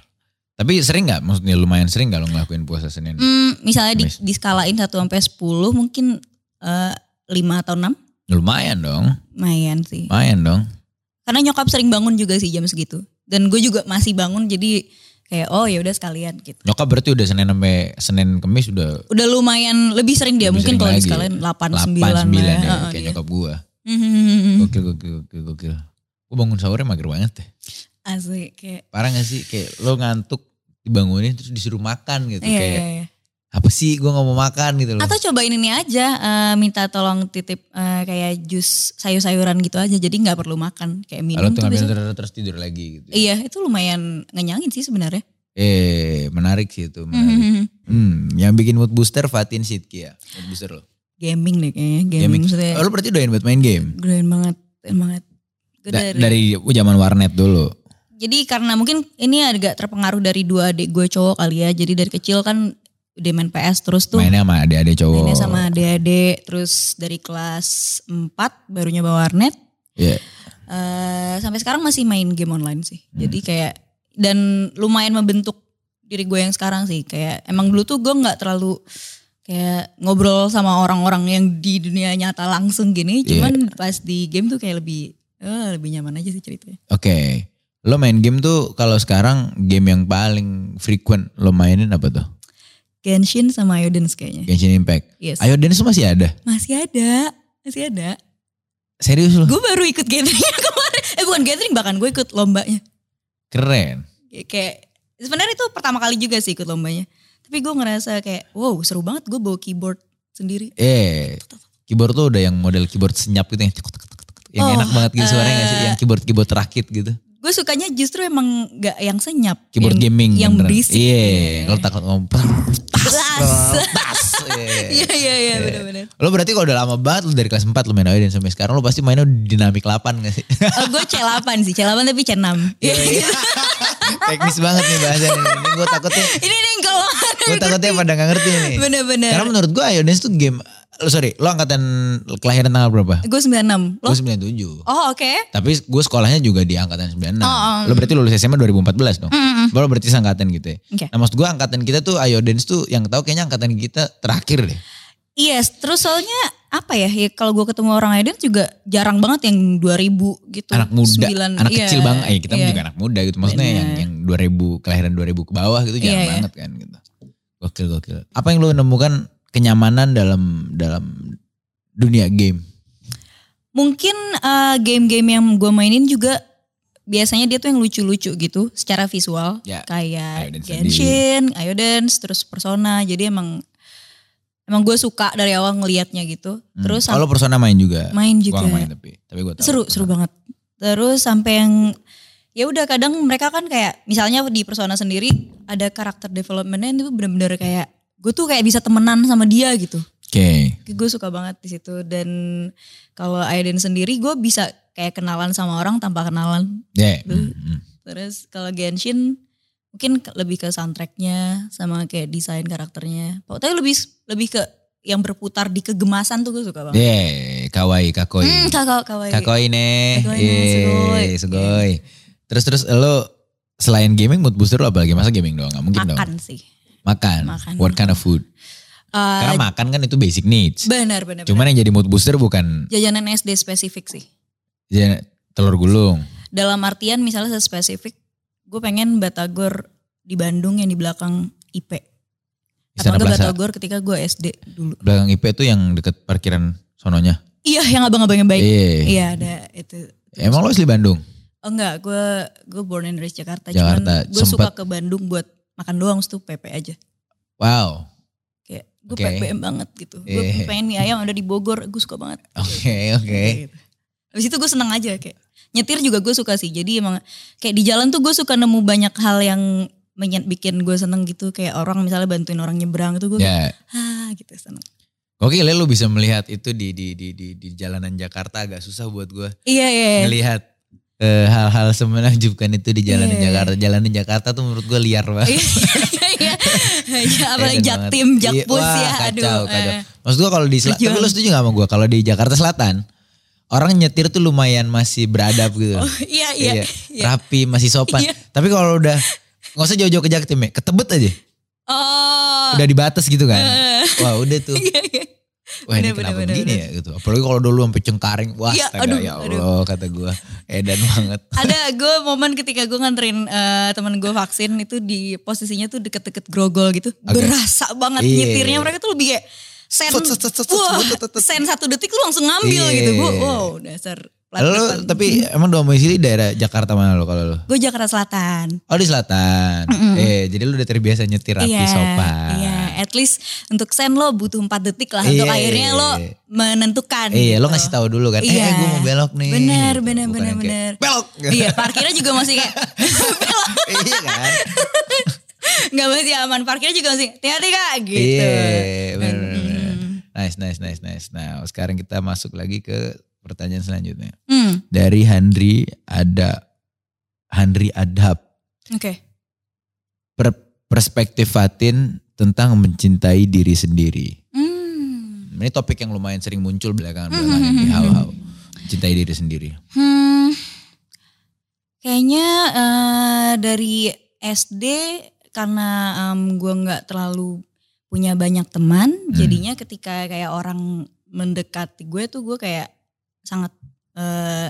Speaker 1: Tapi sering nggak? Maksudnya lumayan sering nggak lo ngelakuin puasa Senin?
Speaker 2: Hmm, misalnya di,
Speaker 1: Kamis.
Speaker 2: di skalain 1 sampai 10 mungkin eh 5 atau 6
Speaker 1: Lumayan dong,
Speaker 2: lumayan sih.
Speaker 1: lumayan dong.
Speaker 2: Karena nyokap sering bangun juga sih jam segitu. Dan gue juga masih bangun jadi kayak oh ya udah sekalian gitu.
Speaker 1: Nyokap berarti udah Senin sampai Senin Kemis udah
Speaker 2: Udah lumayan lebih sering dia
Speaker 1: lebih
Speaker 2: mungkin
Speaker 1: sering
Speaker 2: kalau di
Speaker 1: lagi.
Speaker 2: sekalian 8
Speaker 1: 8 9 ya,
Speaker 2: 9, lah Heeh, iya.
Speaker 1: kayak
Speaker 2: dia.
Speaker 1: nyokap gua.
Speaker 2: Mhm.
Speaker 1: Gokil gokil gokil gokil. Gua bangun sahurnya mager banget deh.
Speaker 2: <laughs> Asik kayak
Speaker 1: Parah gak sih kayak lo ngantuk dibangunin terus disuruh makan gitu
Speaker 2: iya,
Speaker 1: kayak
Speaker 2: iya, iya.
Speaker 1: apa sih gua nggak mau makan gitu loh.
Speaker 2: Atau cobain ini aja eh, minta tolong titip eh, kayak jus sayur-sayuran gitu aja jadi nggak perlu makan kayak
Speaker 1: Kalau
Speaker 2: minum
Speaker 1: tuh
Speaker 2: tuh
Speaker 1: ngambil
Speaker 2: bisa.
Speaker 1: terus, terus tidur lagi gitu.
Speaker 2: Iya, itu lumayan ngenyangin sih sebenarnya.
Speaker 1: Eh, menarik sih itu. Menarik.
Speaker 2: Mhm.
Speaker 1: Hmm, yang bikin mood booster Fatin Sidkia. Mood booster lo.
Speaker 2: <laughs> Gaming deh kayaknya, gaming,
Speaker 1: Gaming.
Speaker 2: maksudnya
Speaker 1: Oh, lo berarti doyan buat main game?
Speaker 2: doyan banget, doyan banget. Gue
Speaker 1: Da- dari zaman warnet dulu.
Speaker 2: Jadi karena mungkin ini agak terpengaruh dari dua adik gue cowok kali ya. Jadi dari kecil kan udah main PS terus tuh.
Speaker 1: Mainnya sama adik-adik cowok.
Speaker 2: Mainnya sama adik-adik. Terus dari kelas 4 baru nyoba warnet.
Speaker 1: Iya.
Speaker 2: Eh, sampai sekarang masih main game online sih. Jadi kayak dan lumayan membentuk diri gue yang sekarang sih. Kayak emang dulu tuh gue nggak terlalu kayak ngobrol sama orang-orang yang di dunia nyata langsung gini. Cuman pas di game tuh kayak lebih eh, lebih nyaman aja sih ceritanya.
Speaker 1: Oke. Lo main game tuh kalau sekarang game yang paling frequent lo mainin apa tuh?
Speaker 2: Genshin sama Yodens kayaknya.
Speaker 1: Genshin Impact.
Speaker 2: Yes.
Speaker 1: Ayo Dance masih ada.
Speaker 2: Masih ada, masih ada.
Speaker 1: Serius lo?
Speaker 2: Gue baru ikut gathering <laughs> kemarin. Eh bukan gathering bahkan gue ikut lombanya.
Speaker 1: Keren.
Speaker 2: Kayak sebenarnya itu pertama kali juga sih ikut lombanya. Tapi gue ngerasa kayak wow seru banget gue bawa keyboard sendiri.
Speaker 1: Eh, keyboard tuh udah yang model keyboard senyap gitu yang tuk, tuk, tuk, tuk, tuk. yang
Speaker 2: Oh,
Speaker 1: enak banget gitu suaranya nggak sih? Yang keyboard keyboard rakit gitu.
Speaker 2: Gue sukanya justru emang gak yang senyap.
Speaker 1: Keyboard
Speaker 2: yang,
Speaker 1: gaming
Speaker 2: Yang
Speaker 1: beneran.
Speaker 2: berisik.
Speaker 1: Iya, kalau takut ngomong. <laughs> "Prr, tas, <laughs>
Speaker 2: Tas.
Speaker 1: prr,
Speaker 2: <laughs>
Speaker 1: tas." Iya.
Speaker 2: Iya iya iya bener-bener.
Speaker 1: Lo berarti kalau udah lama banget lo dari kelas 4 lo main Ayo dan sampai sekarang lo pasti mainnya dinamik 8 gak sih?
Speaker 2: Oh, gue C8 sih, C8 tapi C6. Iya, gitu.
Speaker 1: <laughs> Teknis banget nih bahasanya. nih. Ini gue takutnya,
Speaker 2: Ini nih kalau
Speaker 1: gue takutnya pada gak ngerti nih.
Speaker 2: Bener-bener.
Speaker 1: Karena menurut gue Ayo Dance tuh game, lo sorry, lo angkatan kelahiran tanggal berapa?
Speaker 2: Gue 96. Lo?
Speaker 1: Gue 97.
Speaker 2: Oh oke.
Speaker 1: Tapi gue sekolahnya juga di angkatan 96.
Speaker 2: Oh,
Speaker 1: Lo berarti lulus SMA 2014 dong. Lo berarti seangkatan gitu ya.
Speaker 2: Oke.
Speaker 1: Nah maksud gue angkatan kita tuh Ayo Dance tuh yang tahu kayaknya angkatan kita terakhir deh.
Speaker 2: Yes, terus soalnya apa ya? ya kalau gue ketemu orang Aiden juga jarang banget yang 2000 gitu.
Speaker 1: Anak muda,
Speaker 2: Sembilan,
Speaker 1: anak
Speaker 2: iya,
Speaker 1: kecil banget. Eh kita
Speaker 2: iya.
Speaker 1: juga anak muda gitu. Maksudnya yang, yang 2000, kelahiran 2000 ke bawah gitu jarang
Speaker 2: Iya, iya.
Speaker 1: banget kan gitu. Gokil, gokil. Apa yang lo nemukan kenyamanan dalam dalam dunia game?
Speaker 2: Mungkin eh, game-game yang gue mainin juga biasanya dia tuh yang lucu-lucu gitu secara visual.
Speaker 1: Ya,
Speaker 2: Kayak
Speaker 1: Ayo Dance
Speaker 2: Genshin, Ayo Dance, terus Persona. Jadi emang emang gue suka dari awal ngelihatnya gitu. Terus
Speaker 1: Hmm. kalau persona main juga.
Speaker 2: main
Speaker 1: Gua
Speaker 2: juga.
Speaker 1: nggak main tapi, tapi gue tahu.
Speaker 2: seru seru banget terus sampai yang ya udah kadang mereka kan kayak misalnya di persona sendiri ada karakter developmentnya itu bener-bener kayak gue tuh kayak bisa temenan sama dia gitu
Speaker 1: Oke.
Speaker 2: gue suka banget di situ dan kalau Aiden sendiri gue bisa kayak kenalan sama orang tanpa kenalan
Speaker 1: Ya.
Speaker 2: Dulu.
Speaker 1: mm, mm.
Speaker 2: terus kalau Genshin mungkin ke- lebih ke soundtracknya sama kayak desain karakternya pokoknya lebih lebih ke yang berputar di kegemasan tuh gue suka banget
Speaker 1: Ya, kawaii, kakoi.
Speaker 2: hmm, kakak kawaii
Speaker 1: Kakoi ne.
Speaker 2: Kakoi ne, sugoi.
Speaker 1: eh. Yeay, sugoi. Terus terus eh, lo selain gaming mood booster lo apalagi masa gaming doang nggak mungkin dong.
Speaker 2: makan sih
Speaker 1: Makan.
Speaker 2: Makan.
Speaker 1: What kind of food?
Speaker 2: Eh,
Speaker 1: Karena makan kan itu basic needs.
Speaker 2: Benar, benar. benar.
Speaker 1: Cuman yang jadi mood booster bukan
Speaker 2: jajanan SD spesifik sih.
Speaker 1: ya, telur gulung.
Speaker 2: Dalam artian misalnya spesifik, gue pengen batagor di Bandung yang di belakang IP. Atau
Speaker 1: Istana
Speaker 2: enggak
Speaker 1: Plaza.
Speaker 2: batagor ketika gue SD dulu.
Speaker 1: Belakang IP itu yang deket parkiran sononya.
Speaker 2: Iya, yang abang-abangnya baik.
Speaker 1: Iya.
Speaker 2: Iya, ada itu.
Speaker 1: Emang lo asli Bandung?
Speaker 2: Oh enggak, gue gue born and raised Jakarta.
Speaker 1: Jakarta,
Speaker 2: Cuman gue suka
Speaker 1: sempet.
Speaker 2: ke Bandung buat makan doang, terus tuh PP aja.
Speaker 1: Wow. <laughs>
Speaker 2: Kayak gue
Speaker 1: Oke.
Speaker 2: PPM banget gitu. Gue
Speaker 1: Iya.
Speaker 2: pengen mie ayam ada di Bogor, gue suka banget.
Speaker 1: Oke, oke.
Speaker 2: Kayak gitu. Habis itu gue seneng aja kayak nyetir juga gue suka sih. Jadi emang kayak di jalan tuh gue suka nemu banyak hal yang menyen- bikin gue seneng gitu kayak orang misalnya bantuin orang nyebrang tuh gue kayak,
Speaker 1: Ya.
Speaker 2: ah gitu seneng.
Speaker 1: Oke, lo bisa melihat itu di di di di, di jalanan Jakarta agak susah buat gue.
Speaker 2: Iya iya.
Speaker 1: ngelihat eh, hal-hal semenakjubkan itu di jalanan
Speaker 2: Iya.
Speaker 1: Jakarta. Jalanan Jakarta tuh menurut gue liar banget.
Speaker 2: <laughs> Iya
Speaker 1: <laughs>
Speaker 2: iya. iya. Apalagi
Speaker 1: Eden
Speaker 2: Jaktim,
Speaker 1: banget.
Speaker 2: Jakpus
Speaker 1: Iya,
Speaker 2: ya,
Speaker 1: wah,
Speaker 2: aduh.
Speaker 1: Kacau, kacau.
Speaker 2: eh.
Speaker 1: Maksud gue kalau di selatan,
Speaker 2: Setuju.
Speaker 1: tapi lo setuju gak sama gue? Kalau di Jakarta Selatan, orang nyetir tuh lumayan masih beradab gitu.
Speaker 2: Oh, iya iya. iya.
Speaker 1: Rapi, masih sopan.
Speaker 2: Iya.
Speaker 1: Tapi kalau udah nggak usah jauh-jauh ke Jaktim ya, ketebet aja.
Speaker 2: Oh. <laughs>
Speaker 1: Udah di batas gitu kan.
Speaker 2: Eh.
Speaker 1: Wah udah tuh.
Speaker 2: Iya iya.
Speaker 1: Wah ini
Speaker 2: Bener,
Speaker 1: kenapa
Speaker 2: bener,
Speaker 1: begini
Speaker 2: bener,
Speaker 1: ya gitu. Apalagi kalau dulu sampai cengkaring. Wah
Speaker 2: Iya,
Speaker 1: astaga,
Speaker 2: aduh,
Speaker 1: ya Allah kata gue. Edan banget.
Speaker 2: Ada gue momen ketika gue nganterin eh, teman gue vaksin itu di posisinya tuh deket-deket grogol gitu. Berasa banget
Speaker 1: Iya.
Speaker 2: nyetirnya mereka tuh lebih kayak sen,
Speaker 1: Set, set, set, set, set,
Speaker 2: wah,
Speaker 1: set, set, set.
Speaker 2: sen satu detik tuh langsung ngambil
Speaker 1: Iya.
Speaker 2: gitu. Gue wow dasar
Speaker 1: Lalu tapi emang domisili daerah Jakarta mana lo kalau lo?
Speaker 2: Gue Jakarta Selatan.
Speaker 1: Oh di selatan. Eh jadi lu udah terbiasa nyetir rapi sopan.
Speaker 2: Iya, at least untuk sen lo butuh 4 detik lah
Speaker 1: Iya.
Speaker 2: untuk akhirnya lo menentukan.
Speaker 1: Iya, lo
Speaker 2: gitu.
Speaker 1: ngasih tahu dulu kan. Eh, gue mau belok nih.
Speaker 2: Bener,
Speaker 1: Gitu,
Speaker 2: bener,
Speaker 1: bukan
Speaker 2: bener,
Speaker 1: yang kayak,
Speaker 2: bener.
Speaker 1: Belok.
Speaker 2: <laughs>
Speaker 1: <laughs>
Speaker 2: Iya, parkirnya juga masih kayak <laughs> belok.
Speaker 1: iya kan.
Speaker 2: Gak masih aman, parkirnya juga masih hati-hati kak <laughs> gitu.
Speaker 1: Iya, bener, bener, bener. Nice, nice, nice, nice. Nah, sekarang kita masuk lagi ke pertanyaan selanjutnya.
Speaker 2: Hmm,
Speaker 1: Dari Handri ada Handri Adhab.
Speaker 2: oke.
Speaker 1: Per- perspektif Fatin tentang mencintai diri sendiri.
Speaker 2: Hmm.
Speaker 1: Ini topik yang lumayan sering muncul belakangan-belakangan di hau-hau. Mencintai diri sendiri.
Speaker 2: Hmm. Kayaknya eh, dari SD karena em, gua gue nggak terlalu punya banyak teman, jadinya ketika kayak orang mendekati gue tuh gue kayak sangat eh,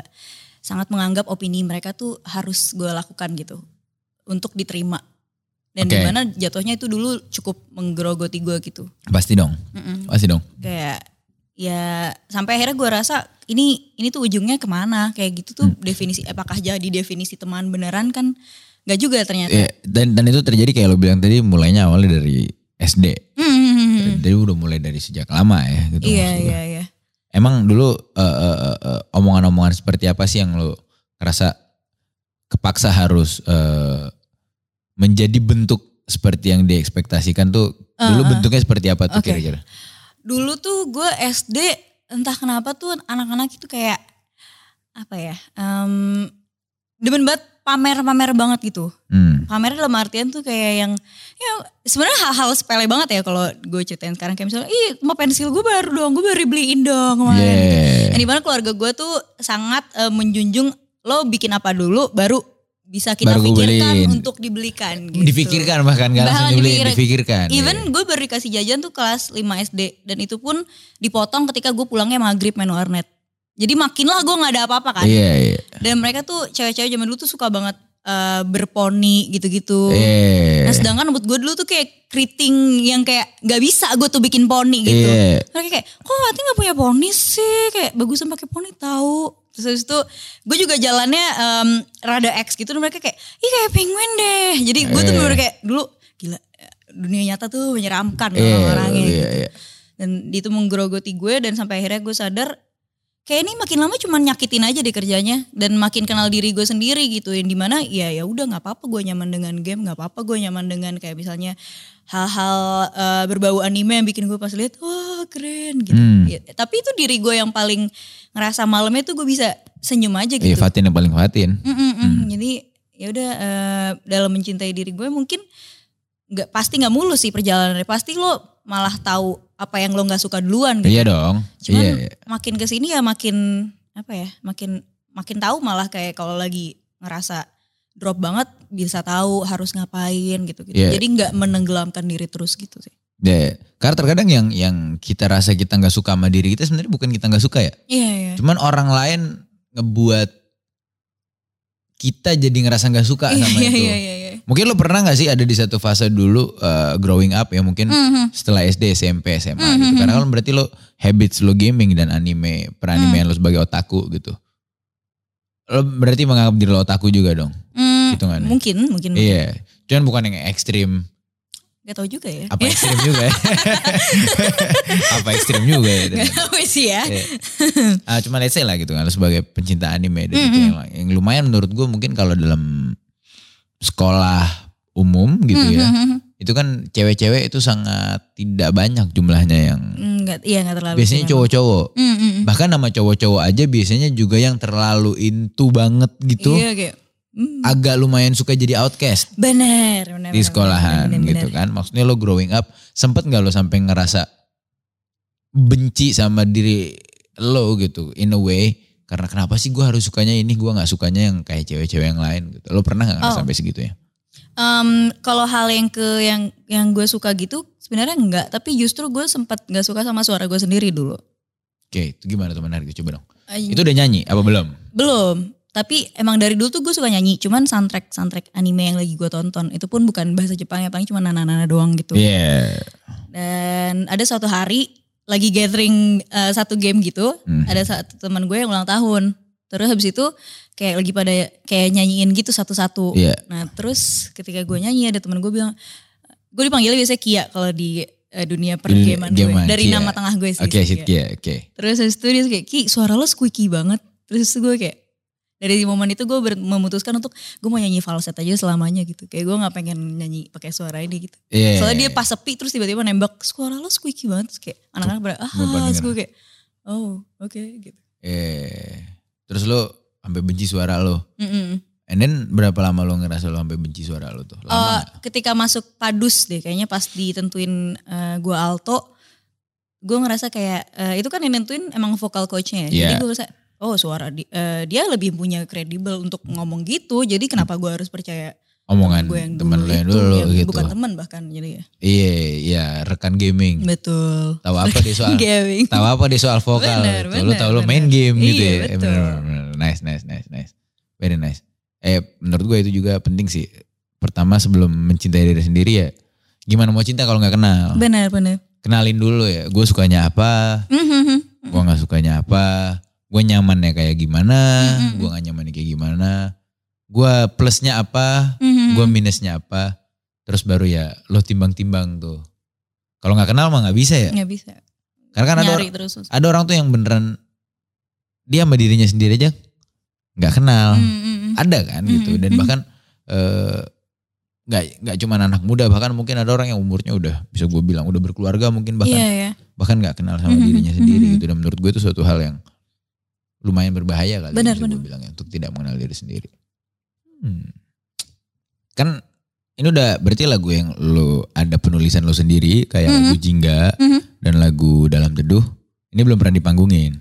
Speaker 2: sangat menganggap opini mereka tuh harus gue lakukan gitu untuk diterima. Dan
Speaker 1: Oke.
Speaker 2: dimana jatuhnya itu dulu cukup menggerogoti gue gitu.
Speaker 1: Pasti dong,
Speaker 2: Mm-mm
Speaker 1: pasti dong.
Speaker 2: kayak ya sampai akhirnya gue rasa ini ini tuh ujungnya kemana kayak gitu tuh definisi apakah jadi definisi teman beneran kan nggak juga ternyata
Speaker 1: Ya, dan dan itu terjadi kayak lo bilang tadi mulainya awalnya dari SD.
Speaker 2: Hmm,
Speaker 1: Jadi udah mulai dari sejak lama ya gitu.
Speaker 2: iya
Speaker 1: maksud gue.
Speaker 2: iya iya
Speaker 1: Emang dulu eh, eh, eh, eh, omongan-omongan seperti apa sih yang lo ngerasa kepaksa harus eh, menjadi bentuk seperti yang diekspektasikan tuh dulu bentuknya seperti apa tuh
Speaker 2: Ah, Oke.
Speaker 1: kira-kira?
Speaker 2: dulu tuh gue SD entah kenapa tuh anak-anak itu kayak apa ya em demen banget pamer-pamer banget gitu
Speaker 1: Hmm.
Speaker 2: pamer dalam artian tuh kayak yang ya sebenarnya hal-hal sepele banget ya kalau gue ceritain sekarang kayak misalnya ih mau pensil gue baru dong gue baru beliin dong kemarin gitu.
Speaker 1: Yeah.
Speaker 2: Yang dimana keluarga gue tuh sangat eh, menjunjung lo bikin apa dulu baru bisa kita
Speaker 1: Baru gue
Speaker 2: pikirkan
Speaker 1: beliin.
Speaker 2: untuk dibelikan gitu.
Speaker 1: Difikirkan iya. bahkan gak
Speaker 2: Bahkan
Speaker 1: langsung dibeliin, difikirkan.
Speaker 2: dipikirin. Even gue baru dikasih jajan tuh kelas 5 SD dan itu pun dipotong ketika gue pulangnya maghrib main warnet. Jadi makinlah gue nggak ada apa-apa kan.
Speaker 1: Iya, Iya, iya.
Speaker 2: Dan mereka tuh cewek-cewek zaman dulu tuh suka banget eh, berponi gitu-gitu.
Speaker 1: Iya.
Speaker 2: Nah sedangkan rambut gue dulu tuh kayak keriting yang kayak nggak bisa gue tuh bikin poni gitu.
Speaker 1: Iya.
Speaker 2: Mereka kayak, kok Wati gak punya poni sih? Kayak bagusan pakai poni tahu. Terus habis itu gue juga jalannya em, rada X gitu. Dan mereka kayak, ih kayak penguin deh. Jadi gue tuh
Speaker 1: Eh.
Speaker 2: bener kayak dulu gila dunia nyata tuh menyeramkan
Speaker 1: Iya,
Speaker 2: orangnya
Speaker 1: iya,
Speaker 2: gitu.
Speaker 1: iya.
Speaker 2: Dan itu menggerogoti gue dan sampai akhirnya gue sadar kayak ini makin lama cuman nyakitin aja deh kerjanya dan makin kenal diri gue sendiri gitu yang dimana ya ya udah nggak apa-apa gue nyaman dengan game nggak apa-apa gue nyaman dengan kayak misalnya hal-hal eh, berbau anime yang bikin gue pas lihat wah keren gitu
Speaker 1: Hmm.
Speaker 2: Ya, tapi itu diri gue yang paling ngerasa malamnya tuh gue bisa senyum aja
Speaker 1: Iya,
Speaker 2: gitu Hmm.
Speaker 1: Fatin yang paling Fatin.
Speaker 2: Mm-mm-mm.
Speaker 1: Hmm.
Speaker 2: jadi ya udah eh, dalam mencintai diri gue mungkin nggak pasti nggak mulus sih perjalanannya pasti lo malah tahu apa yang lo nggak suka duluan gitu
Speaker 1: Iya dong.
Speaker 2: Cuman
Speaker 1: iya, iya.
Speaker 2: makin ke sini ya makin apa ya? Makin makin tahu malah kayak kalau lagi ngerasa drop banget bisa tahu harus ngapain gitu gitu.
Speaker 1: Iya.
Speaker 2: Jadi nggak menenggelamkan diri terus gitu sih.
Speaker 1: Ya, karena terkadang yang yang kita rasa kita nggak suka sama diri kita sebenarnya bukan kita nggak suka ya.
Speaker 2: Iya iya.
Speaker 1: Cuman orang lain ngebuat kita jadi ngerasa nggak suka
Speaker 2: Iya
Speaker 1: sama
Speaker 2: iya
Speaker 1: itu.
Speaker 2: iya iya. iya.
Speaker 1: Mungkin lo pernah nggak sih ada di satu fase dulu uh, growing up ya mungkin
Speaker 2: Mhm.
Speaker 1: setelah SD, SMP, SMA
Speaker 2: Hmm,
Speaker 1: gitu.
Speaker 2: hmm,
Speaker 1: Karena kan berarti lo habits lo gaming dan anime,
Speaker 2: Hmm.
Speaker 1: peranimean lo sebagai otaku gitu. Lo berarti menganggap diri lo otaku juga dong.
Speaker 2: Mm,
Speaker 1: Hitungannya.
Speaker 2: mungkin mungkin
Speaker 1: Iya. Cuman bukan yang ekstrim
Speaker 2: nggak tahu juga ya.
Speaker 1: apa ekstrim juga ya? apa ekstrim juga ya?
Speaker 2: <laughs> Nggak tahu sih ya.
Speaker 1: Iya. Ah, cuma let's say lah gitu kan lo sebagai pencinta anime dan itu
Speaker 2: Mm-mm.
Speaker 1: yang, yang lumayan menurut gue mungkin kalau dalam sekolah umum gitu ya
Speaker 2: Mhm.
Speaker 1: itu kan cewek-cewek itu sangat tidak banyak jumlahnya yang
Speaker 2: Nggak iya nggak terlalu.
Speaker 1: biasanya
Speaker 2: sih
Speaker 1: cowok-cowok
Speaker 2: memang. Mm, mm, mm.
Speaker 1: bahkan nama cowok-cowok aja biasanya juga yang terlalu into banget gitu
Speaker 2: Iya kayak. mm,
Speaker 1: agak lumayan suka jadi outcast
Speaker 2: Bener, bener,
Speaker 1: di
Speaker 2: bener,
Speaker 1: sekolahan
Speaker 2: bener, bener,
Speaker 1: gitu
Speaker 2: bener.
Speaker 1: kan. Maksudnya lo growing up sempet nggak lo sampai ngerasa benci sama diri lo gitu in a way karena kenapa sih gue harus sukanya ini gue nggak sukanya yang kayak cewek-cewek yang lain gitu. Lo pernah nggak ngerasa
Speaker 2: Oh.
Speaker 1: sampai segitu ya?
Speaker 2: Em, kalau hal yang ke yang yang gue suka gitu Sebenarnya enggak, tapi justru gue sempat nggak suka sama suara gue sendiri dulu.
Speaker 1: Oke, itu gimana tuh menarik tuh, coba dong.
Speaker 2: Ay-
Speaker 1: Itu udah nyanyi
Speaker 2: Iya,
Speaker 1: apa belum?
Speaker 2: Belum, tapi emang dari dulu tuh gue suka nyanyi, cuman soundtrack soundtrack anime yang lagi gue tonton itu pun bukan bahasa Jepangnya, paling cuma nana-nana doang gitu.
Speaker 1: Iya.
Speaker 2: Dan ada suatu hari lagi gathering eh, satu game gitu,
Speaker 1: Hmm.
Speaker 2: ada satu teman gue yang ulang tahun. Terus habis itu kayak lagi pada kayak nyanyiin gitu satu-satu.
Speaker 1: Iya.
Speaker 2: Nah terus ketika gue nyanyi ada teman gue bilang, gue dipanggilnya biasanya Kia kalau di eh, dunia pergaman gue.
Speaker 1: gaman,
Speaker 2: Dari
Speaker 1: Kia.
Speaker 2: nama tengah gue sih. iya.
Speaker 1: Oke,
Speaker 2: sih,
Speaker 1: shit
Speaker 2: Kia.
Speaker 1: ya, oke.
Speaker 2: Terus habis itu dia kayak, Ki suara lo squeaky banget. Terus gue kayak, dari momen itu gue ber- memutuskan untuk gue mau nyanyi falset aja selamanya gitu. Kayak gue gak pengen nyanyi pakai suara ini gitu.
Speaker 1: Iya.
Speaker 2: Soalnya dia pas sepi terus tiba-tiba nembak suara lo squeaky banget terus kayak anak-anak pada ah
Speaker 1: Gue pernah
Speaker 2: terus
Speaker 1: denger.
Speaker 2: gue kayak oh oke gitu.
Speaker 1: Eh, terus lo sampai benci suara lo.
Speaker 2: Mm-mm.
Speaker 1: And then berapa lama lo ngerasa lo sampai benci suara lo tuh?
Speaker 2: Eh,
Speaker 1: Lama. nggak?
Speaker 2: ketika masuk padus deh kayaknya pas ditentuin eh, gue alto gue ngerasa kayak eh, itu kan yang nentuin emang vokal
Speaker 1: Iya.
Speaker 2: coachnya ya. Jadi gue ngerasa oh suara di- eh, dia lebih punya kredibel untuk ngomong gitu jadi kenapa gue harus percaya
Speaker 1: Omongan
Speaker 2: gue yang
Speaker 1: temen
Speaker 2: dulu
Speaker 1: lo yang
Speaker 2: itu,
Speaker 1: dulu
Speaker 2: yang
Speaker 1: gitu.
Speaker 2: bukan teman bahkan jadi ya.
Speaker 1: Iya, iya rekan gaming.
Speaker 2: Betul.
Speaker 1: Tahu apa dia
Speaker 2: <laughs>
Speaker 1: soal
Speaker 2: Gaming.
Speaker 1: tahu apa dia soal vokal.
Speaker 2: Benar,
Speaker 1: Tuh, lo
Speaker 2: benar,
Speaker 1: tahu lo
Speaker 2: benar.
Speaker 1: main game gitu ya.
Speaker 2: Iya,
Speaker 1: Eh,
Speaker 2: betul.
Speaker 1: benar, benar, benar. Nice, nice, nice, nice. Very nice. Eh menurut gue itu juga penting sih. Pertama sebelum mencintai diri sendiri ya. Gimana mau cinta kalau nggak kenal?
Speaker 2: Benar benar.
Speaker 1: Kenalin dulu ya. Gue sukanya apa?
Speaker 2: Mhm.
Speaker 1: gue nggak sukanya apa gue nyamannya kayak gimana
Speaker 2: Mm-mm.
Speaker 1: gue nggak nyamannya kayak gimana gue plusnya apa
Speaker 2: Mhm.
Speaker 1: gue minusnya apa terus baru ya lo timbang-timbang tuh kalau nggak kenal mah nggak bisa ya
Speaker 2: nggak bisa.
Speaker 1: karena kan ada
Speaker 2: nyari
Speaker 1: orang,
Speaker 2: terus. susah.
Speaker 1: ada orang tuh yang beneran dia sama dirinya sendiri aja nggak kenal
Speaker 2: Mm, mm, mm.
Speaker 1: Ah, ada kan gitu dan
Speaker 2: Mm-mm.
Speaker 1: bahkan eh, nggak nggak cuma anak muda bahkan mungkin ada orang yang umurnya udah bisa gue bilang udah berkeluarga mungkin bahkan
Speaker 2: Iya ya.
Speaker 1: bahkan nggak kenal sama
Speaker 2: Mhm,
Speaker 1: dirinya sendiri
Speaker 2: mhm.
Speaker 1: gitu dan menurut gue itu suatu hal yang lumayan berbahaya kali
Speaker 2: Benar,
Speaker 1: bisa gue
Speaker 2: benar.
Speaker 1: bilang ya, untuk tidak mengenal diri sendiri Hmm. kan ini udah berarti lagu yang lo ada penulisan lo sendiri kayak
Speaker 2: Mhm.
Speaker 1: lagu jingga
Speaker 2: Mhm.
Speaker 1: dan lagu dalam teduh ini belum pernah dipanggungin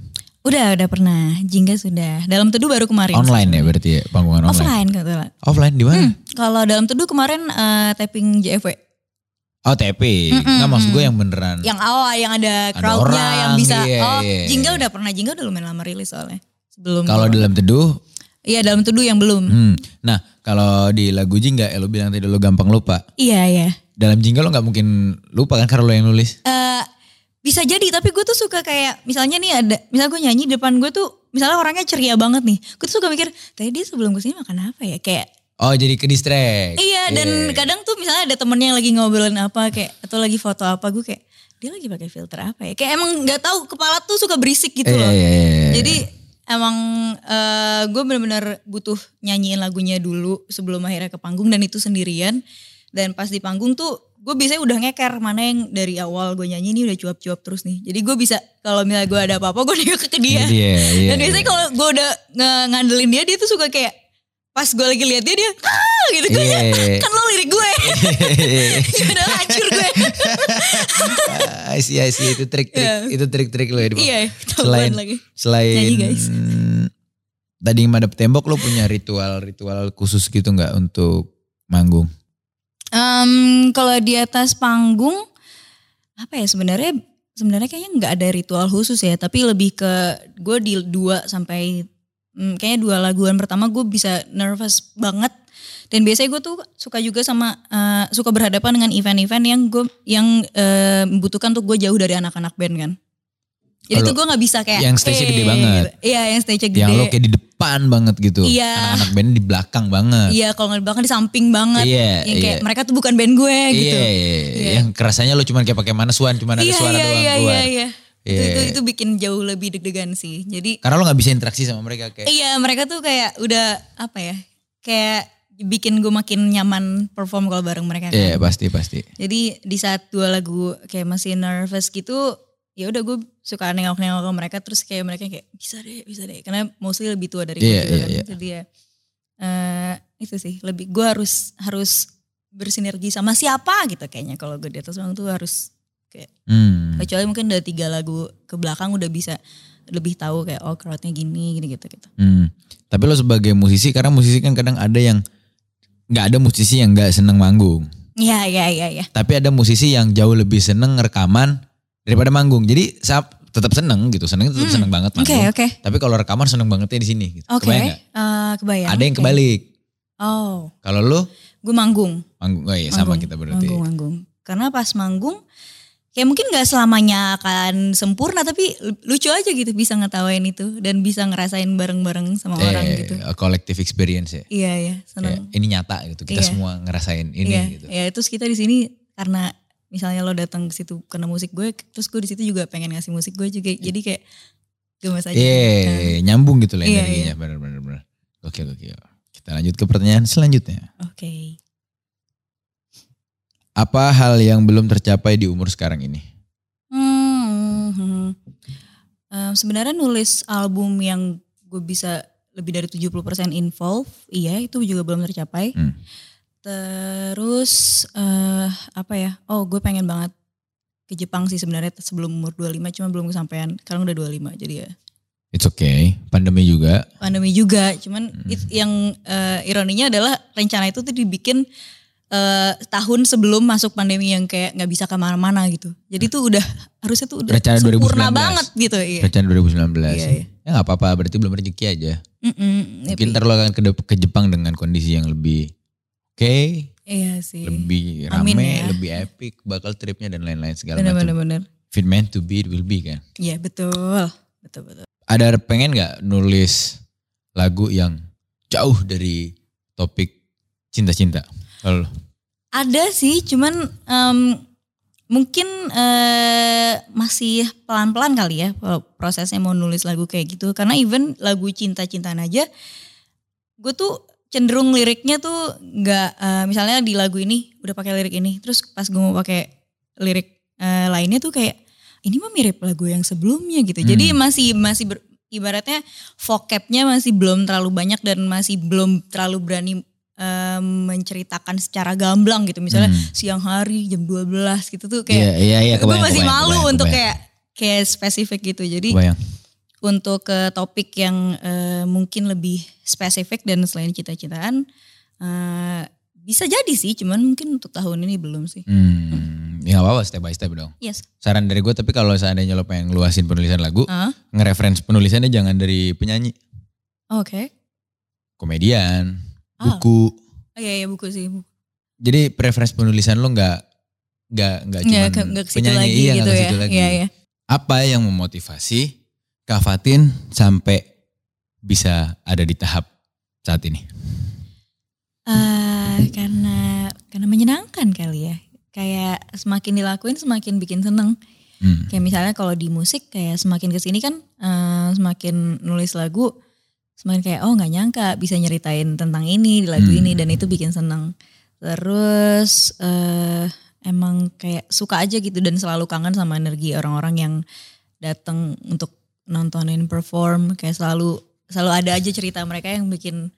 Speaker 2: Udah udah pernah. Jingga sudah. Dalam teduh baru kemarin.
Speaker 1: online ya berarti ya panggungan online
Speaker 2: Offline kebetulan.
Speaker 1: offline di mana
Speaker 2: Hmm, Kalau dalam teduh kemarin eh, tapping JFW.
Speaker 1: oh TP
Speaker 2: Mm-mm,
Speaker 1: nggak maksud gue
Speaker 2: mm.
Speaker 1: yang beneran
Speaker 2: Yang awal yang ada
Speaker 1: Ada
Speaker 2: crowdnya
Speaker 1: orang,
Speaker 2: yang bisa.
Speaker 1: iya,
Speaker 2: oh
Speaker 1: iya,
Speaker 2: Jingga
Speaker 1: iya.
Speaker 2: udah pernah. Jingga udah lumayan lama rilis soalnya. Sebelum.
Speaker 1: kalau
Speaker 2: corona.
Speaker 1: dalam teduh
Speaker 2: Iya dalam teduh yang belum.
Speaker 1: hmm. nah kalau di lagu jingga ya lo bilang tadi lo gampang lupa
Speaker 2: Iya iya.
Speaker 1: dalam jingga lo nggak mungkin lupa kan karena lo yang nulis
Speaker 2: Eh, bisa jadi tapi gue tuh suka kayak misalnya nih ada misalnya gue nyanyi di depan gue tuh misalnya orangnya ceria banget nih gue tuh suka mikir tadi dia sebelum gue sini makan apa ya kayak
Speaker 1: Oh jadi ke distract.
Speaker 2: Iya dan
Speaker 1: Iya.
Speaker 2: kadang tuh misalnya ada temennya yang lagi ngobrolin apa kayak atau lagi foto apa gue kayak dia lagi pakai filter apa ya kayak emang nggak tahu kepala tuh suka berisik gitu
Speaker 1: Iya,
Speaker 2: loh.
Speaker 1: iya, iya, iya.
Speaker 2: Jadi emang eh, gue benar-benar butuh nyanyiin lagunya dulu sebelum akhirnya ke panggung dan itu sendirian dan pas di panggung tuh gue biasanya udah ngeker mana yang dari awal gue nyanyi ini udah cuap-cuap terus nih. Jadi gue bisa kalau misalnya gue ada apa-apa gue <laughs> nengok ke dia.
Speaker 1: Jadi, iya, iya,
Speaker 2: ya. Dan biasanya
Speaker 1: iya.
Speaker 2: kalau gue udah nge- ngandelin dia, dia tuh suka kayak pas gue lagi lihat dia dia ah gitu gue
Speaker 1: Iya, iya, iya.
Speaker 2: kan lo lirik gue <laughs> udah hancur gue
Speaker 1: Ah, <laughs> I see, I see. itu trik-trik,
Speaker 2: Iya.
Speaker 1: itu trik-trik lo ya. di bawah.
Speaker 2: iya <laughs>
Speaker 1: Selain-
Speaker 2: ketahuan lagi
Speaker 1: Selain
Speaker 2: Nyanyi, guys.
Speaker 1: mm, tadi madep tembok lo punya ritual-ritual khusus gitu nggak untuk manggung?
Speaker 2: Em, kalau di atas panggung apa ya sebenarnya sebenarnya kayaknya nggak ada ritual khusus ya tapi lebih ke gue di dua sampai hmm, kayaknya dua laguan pertama gue bisa nervous banget dan biasanya gue tuh suka juga sama eh, suka berhadapan dengan event-event yang gue yang eh, membutuhkan tuh gue jauh dari anak-anak band kan jadi
Speaker 1: Kalau
Speaker 2: tuh gue nggak bisa kayak
Speaker 1: yang stage-nya gede
Speaker 2: "Eh,"
Speaker 1: banget.
Speaker 2: gitu. iya yang stage-nya gede
Speaker 1: Yang lo kayak di depan banget gitu.
Speaker 2: Iya.
Speaker 1: Anak-anak band di belakang banget.
Speaker 2: iya kalau nggak bahkan di samping banget
Speaker 1: Iya,
Speaker 2: yang kayak
Speaker 1: iya.
Speaker 2: mereka tuh bukan band gue
Speaker 1: Iya,
Speaker 2: gitu
Speaker 1: iya,
Speaker 2: Iya.
Speaker 1: Yang kerasanya lo cuman kayak pakai manesuan, cuman Kan ada suara doang
Speaker 2: iya,
Speaker 1: keluar.
Speaker 2: Iya, iya. Itu,
Speaker 1: Iya.
Speaker 2: itu, itu bikin jauh lebih deg-degan sih. Jadi
Speaker 1: Karena lo nggak bisa interaksi sama mereka kayak.
Speaker 2: iya mereka tuh kayak udah apa ya? Kayak bikin gue makin nyaman perform kalau bareng mereka. kan.
Speaker 1: Iya, pasti pasti.
Speaker 2: Jadi di saat dua lagu kayak masih nervous gitu, ya udah gue suka nengok-nengok ke mereka terus kayak mereka kayak bisa deh, bisa deh. Karena mostly lebih tua dari gue
Speaker 1: Iya,
Speaker 2: juga
Speaker 1: iya,
Speaker 2: kan.
Speaker 1: iya.
Speaker 2: Jadi ya eh, itu sih lebih gue harus harus bersinergi sama siapa gitu kayaknya kalau gue di atas panggung tuh harus
Speaker 1: Hmm.
Speaker 2: kecuali mungkin udah tiga lagu ke belakang udah bisa lebih tahu kayak oh crowdnya gini gini gitu gitu
Speaker 1: Hmm. Tapi lo sebagai musisi, karena musisi kan kadang ada yang nggak ada musisi yang nggak seneng manggung.
Speaker 2: Iya, iya, iya, iya.
Speaker 1: Tapi ada musisi yang jauh lebih seneng rekaman daripada manggung. Jadi sa- tetap seneng gitu, seneng tetap seneng banget
Speaker 2: Hmm. Oke,
Speaker 1: manggung.
Speaker 2: oke.
Speaker 1: Tapi kalau rekaman seneng bangetnya di sini. Gitu.
Speaker 2: Oke.
Speaker 1: Kebayang nggak?
Speaker 2: Eh, kebayang.
Speaker 1: ada yang
Speaker 2: Oke.
Speaker 1: kebalik.
Speaker 2: Oh,
Speaker 1: Kalau lu
Speaker 2: gue manggung.
Speaker 1: manggung, oh iya sama
Speaker 2: Manggung,
Speaker 1: kita berarti.
Speaker 2: Manggung, manggung. Karena pas manggung, kayak mungkin gak selamanya akan sempurna, tapi lucu aja gitu bisa ngetawain itu dan bisa ngerasain bareng-bareng sama
Speaker 1: Eh,
Speaker 2: orang gitu.
Speaker 1: collective experience ya.
Speaker 2: Iya, iya,
Speaker 1: Kayak
Speaker 2: senang.
Speaker 1: ini nyata gitu. Kita
Speaker 2: Iya.
Speaker 1: semua ngerasain ini
Speaker 2: Iya,
Speaker 1: gitu.
Speaker 2: iya. Terus kita di sini karena misalnya lo datang ke situ karena musik gue, terus gue di situ juga pengen ngasih musik gue juga. Jadi kayak gemes aja.
Speaker 1: Iya, nyambung gitu lah
Speaker 2: Iya,
Speaker 1: energinya. Bener, bener, bener. Oke, oke. Kita lanjut ke pertanyaan selanjutnya.
Speaker 2: Nah, Oke.
Speaker 1: Apa hal yang belum tercapai di umur sekarang ini?
Speaker 2: Hmm, hmm. Em, sebenarnya nulis album yang gue bisa lebih dari 70% involve, iya itu juga belum tercapai.
Speaker 1: Hmm.
Speaker 2: Terus eh apa ya? Oh, gue pengen banget ke Jepang sih sebenarnya sebelum umur 25 cuma belum kesampaian. Sekarang udah 25 jadi ya.
Speaker 1: It's okay. Pandemi juga.
Speaker 2: Pandemi juga, cuman
Speaker 1: Hmm.
Speaker 2: it- yang eh, ironinya adalah rencana itu tuh dibikin eh, tahun sebelum masuk pandemi yang kayak nggak bisa kemana-mana gitu. Jadi tuh udah harusnya tuh udah
Speaker 1: Hmm. Rencana
Speaker 2: sempurna
Speaker 1: 2019.
Speaker 2: banget gitu. Iya.
Speaker 1: Rencana 2019.
Speaker 2: Iya, iya.
Speaker 1: Ya nggak apa-apa, berarti belum rezeki aja.
Speaker 2: Mm-mm, iya,
Speaker 1: Mungkin
Speaker 2: tapi-
Speaker 1: ntar lo akan ke, ke Jepang dengan kondisi yang lebih oke,
Speaker 2: Iya sih.
Speaker 1: lebih rame,
Speaker 2: Amin ya.
Speaker 1: lebih epic, bakal tripnya dan lain-lain segala macam.
Speaker 2: Bener-bener.
Speaker 1: Fit meant to be, it will be kan.
Speaker 2: Iya betul. Betul betul.
Speaker 1: Ada pengen nggak nulis lagu yang jauh dari topik cinta-cinta? Kalau lo?
Speaker 2: Ada sih, cuman em, mungkin eh, masih pelan-pelan kali ya pro- prosesnya mau nulis lagu kayak gitu. Karena even lagu cinta-cintaan aja, gue tuh cenderung liriknya tuh nggak eh, misalnya di lagu ini udah pakai lirik ini, terus pas gue mau pakai lirik eh, lainnya tuh kayak ini mah mirip lagu yang sebelumnya gitu. Jadi masih masih ber- ibaratnya vocabnya masih belum terlalu banyak dan masih belum terlalu berani eh, menceritakan secara gamblang gitu. Misalnya
Speaker 1: Hmm.
Speaker 2: siang hari jam 12 gitu tuh
Speaker 1: Iya,
Speaker 2: kayak
Speaker 1: iya, iya,
Speaker 2: gue
Speaker 1: kebayang,
Speaker 2: masih
Speaker 1: kebayang,
Speaker 2: malu
Speaker 1: kebayang,
Speaker 2: untuk
Speaker 1: kebayang.
Speaker 2: kayak kayak spesifik gitu. Jadi
Speaker 1: Kebayang.
Speaker 2: untuk ke topik yang eh, mungkin lebih spesifik dan selain cita-citaan eh, bisa jadi sih, cuman mungkin untuk tahun ini belum sih.
Speaker 1: Hmm, ya nggak apa-apa step by step dong.
Speaker 2: Yes.
Speaker 1: Saran dari gue tapi kalau seandainya lo pengen luasin penulisan lagu,
Speaker 2: Ah,
Speaker 1: ngereference penulisannya jangan dari penyanyi,
Speaker 2: Oke.
Speaker 1: komedian,
Speaker 2: Ah.
Speaker 1: buku.
Speaker 2: Oh, Iya iya buku sih. buku.
Speaker 1: Jadi preference penulisan lo nggak nggak nggak cuma
Speaker 2: Nggak ke- nggak ke situ
Speaker 1: penyanyi,
Speaker 2: lagi
Speaker 1: iya,
Speaker 2: gitu
Speaker 1: nggak ke
Speaker 2: ya.
Speaker 1: situ lagi.
Speaker 2: Iya iya.
Speaker 1: Apa yang memotivasi Kak Fatin sampai bisa ada di tahap saat ini?
Speaker 2: Eh, karena karena menyenangkan kali ya. Kayak semakin dilakuin semakin bikin seneng.
Speaker 1: Hmm.
Speaker 2: Kayak misalnya kalau di musik kayak semakin kesini kan eh, semakin nulis lagu semakin kayak oh nggak nyangka bisa nyeritain tentang ini di lagu
Speaker 1: Hmm.
Speaker 2: ini dan itu bikin seneng. Terus eh emang kayak suka aja gitu dan selalu kangen sama energi orang-orang yang datang untuk nontonin perform kayak selalu selalu ada aja cerita mereka yang bikin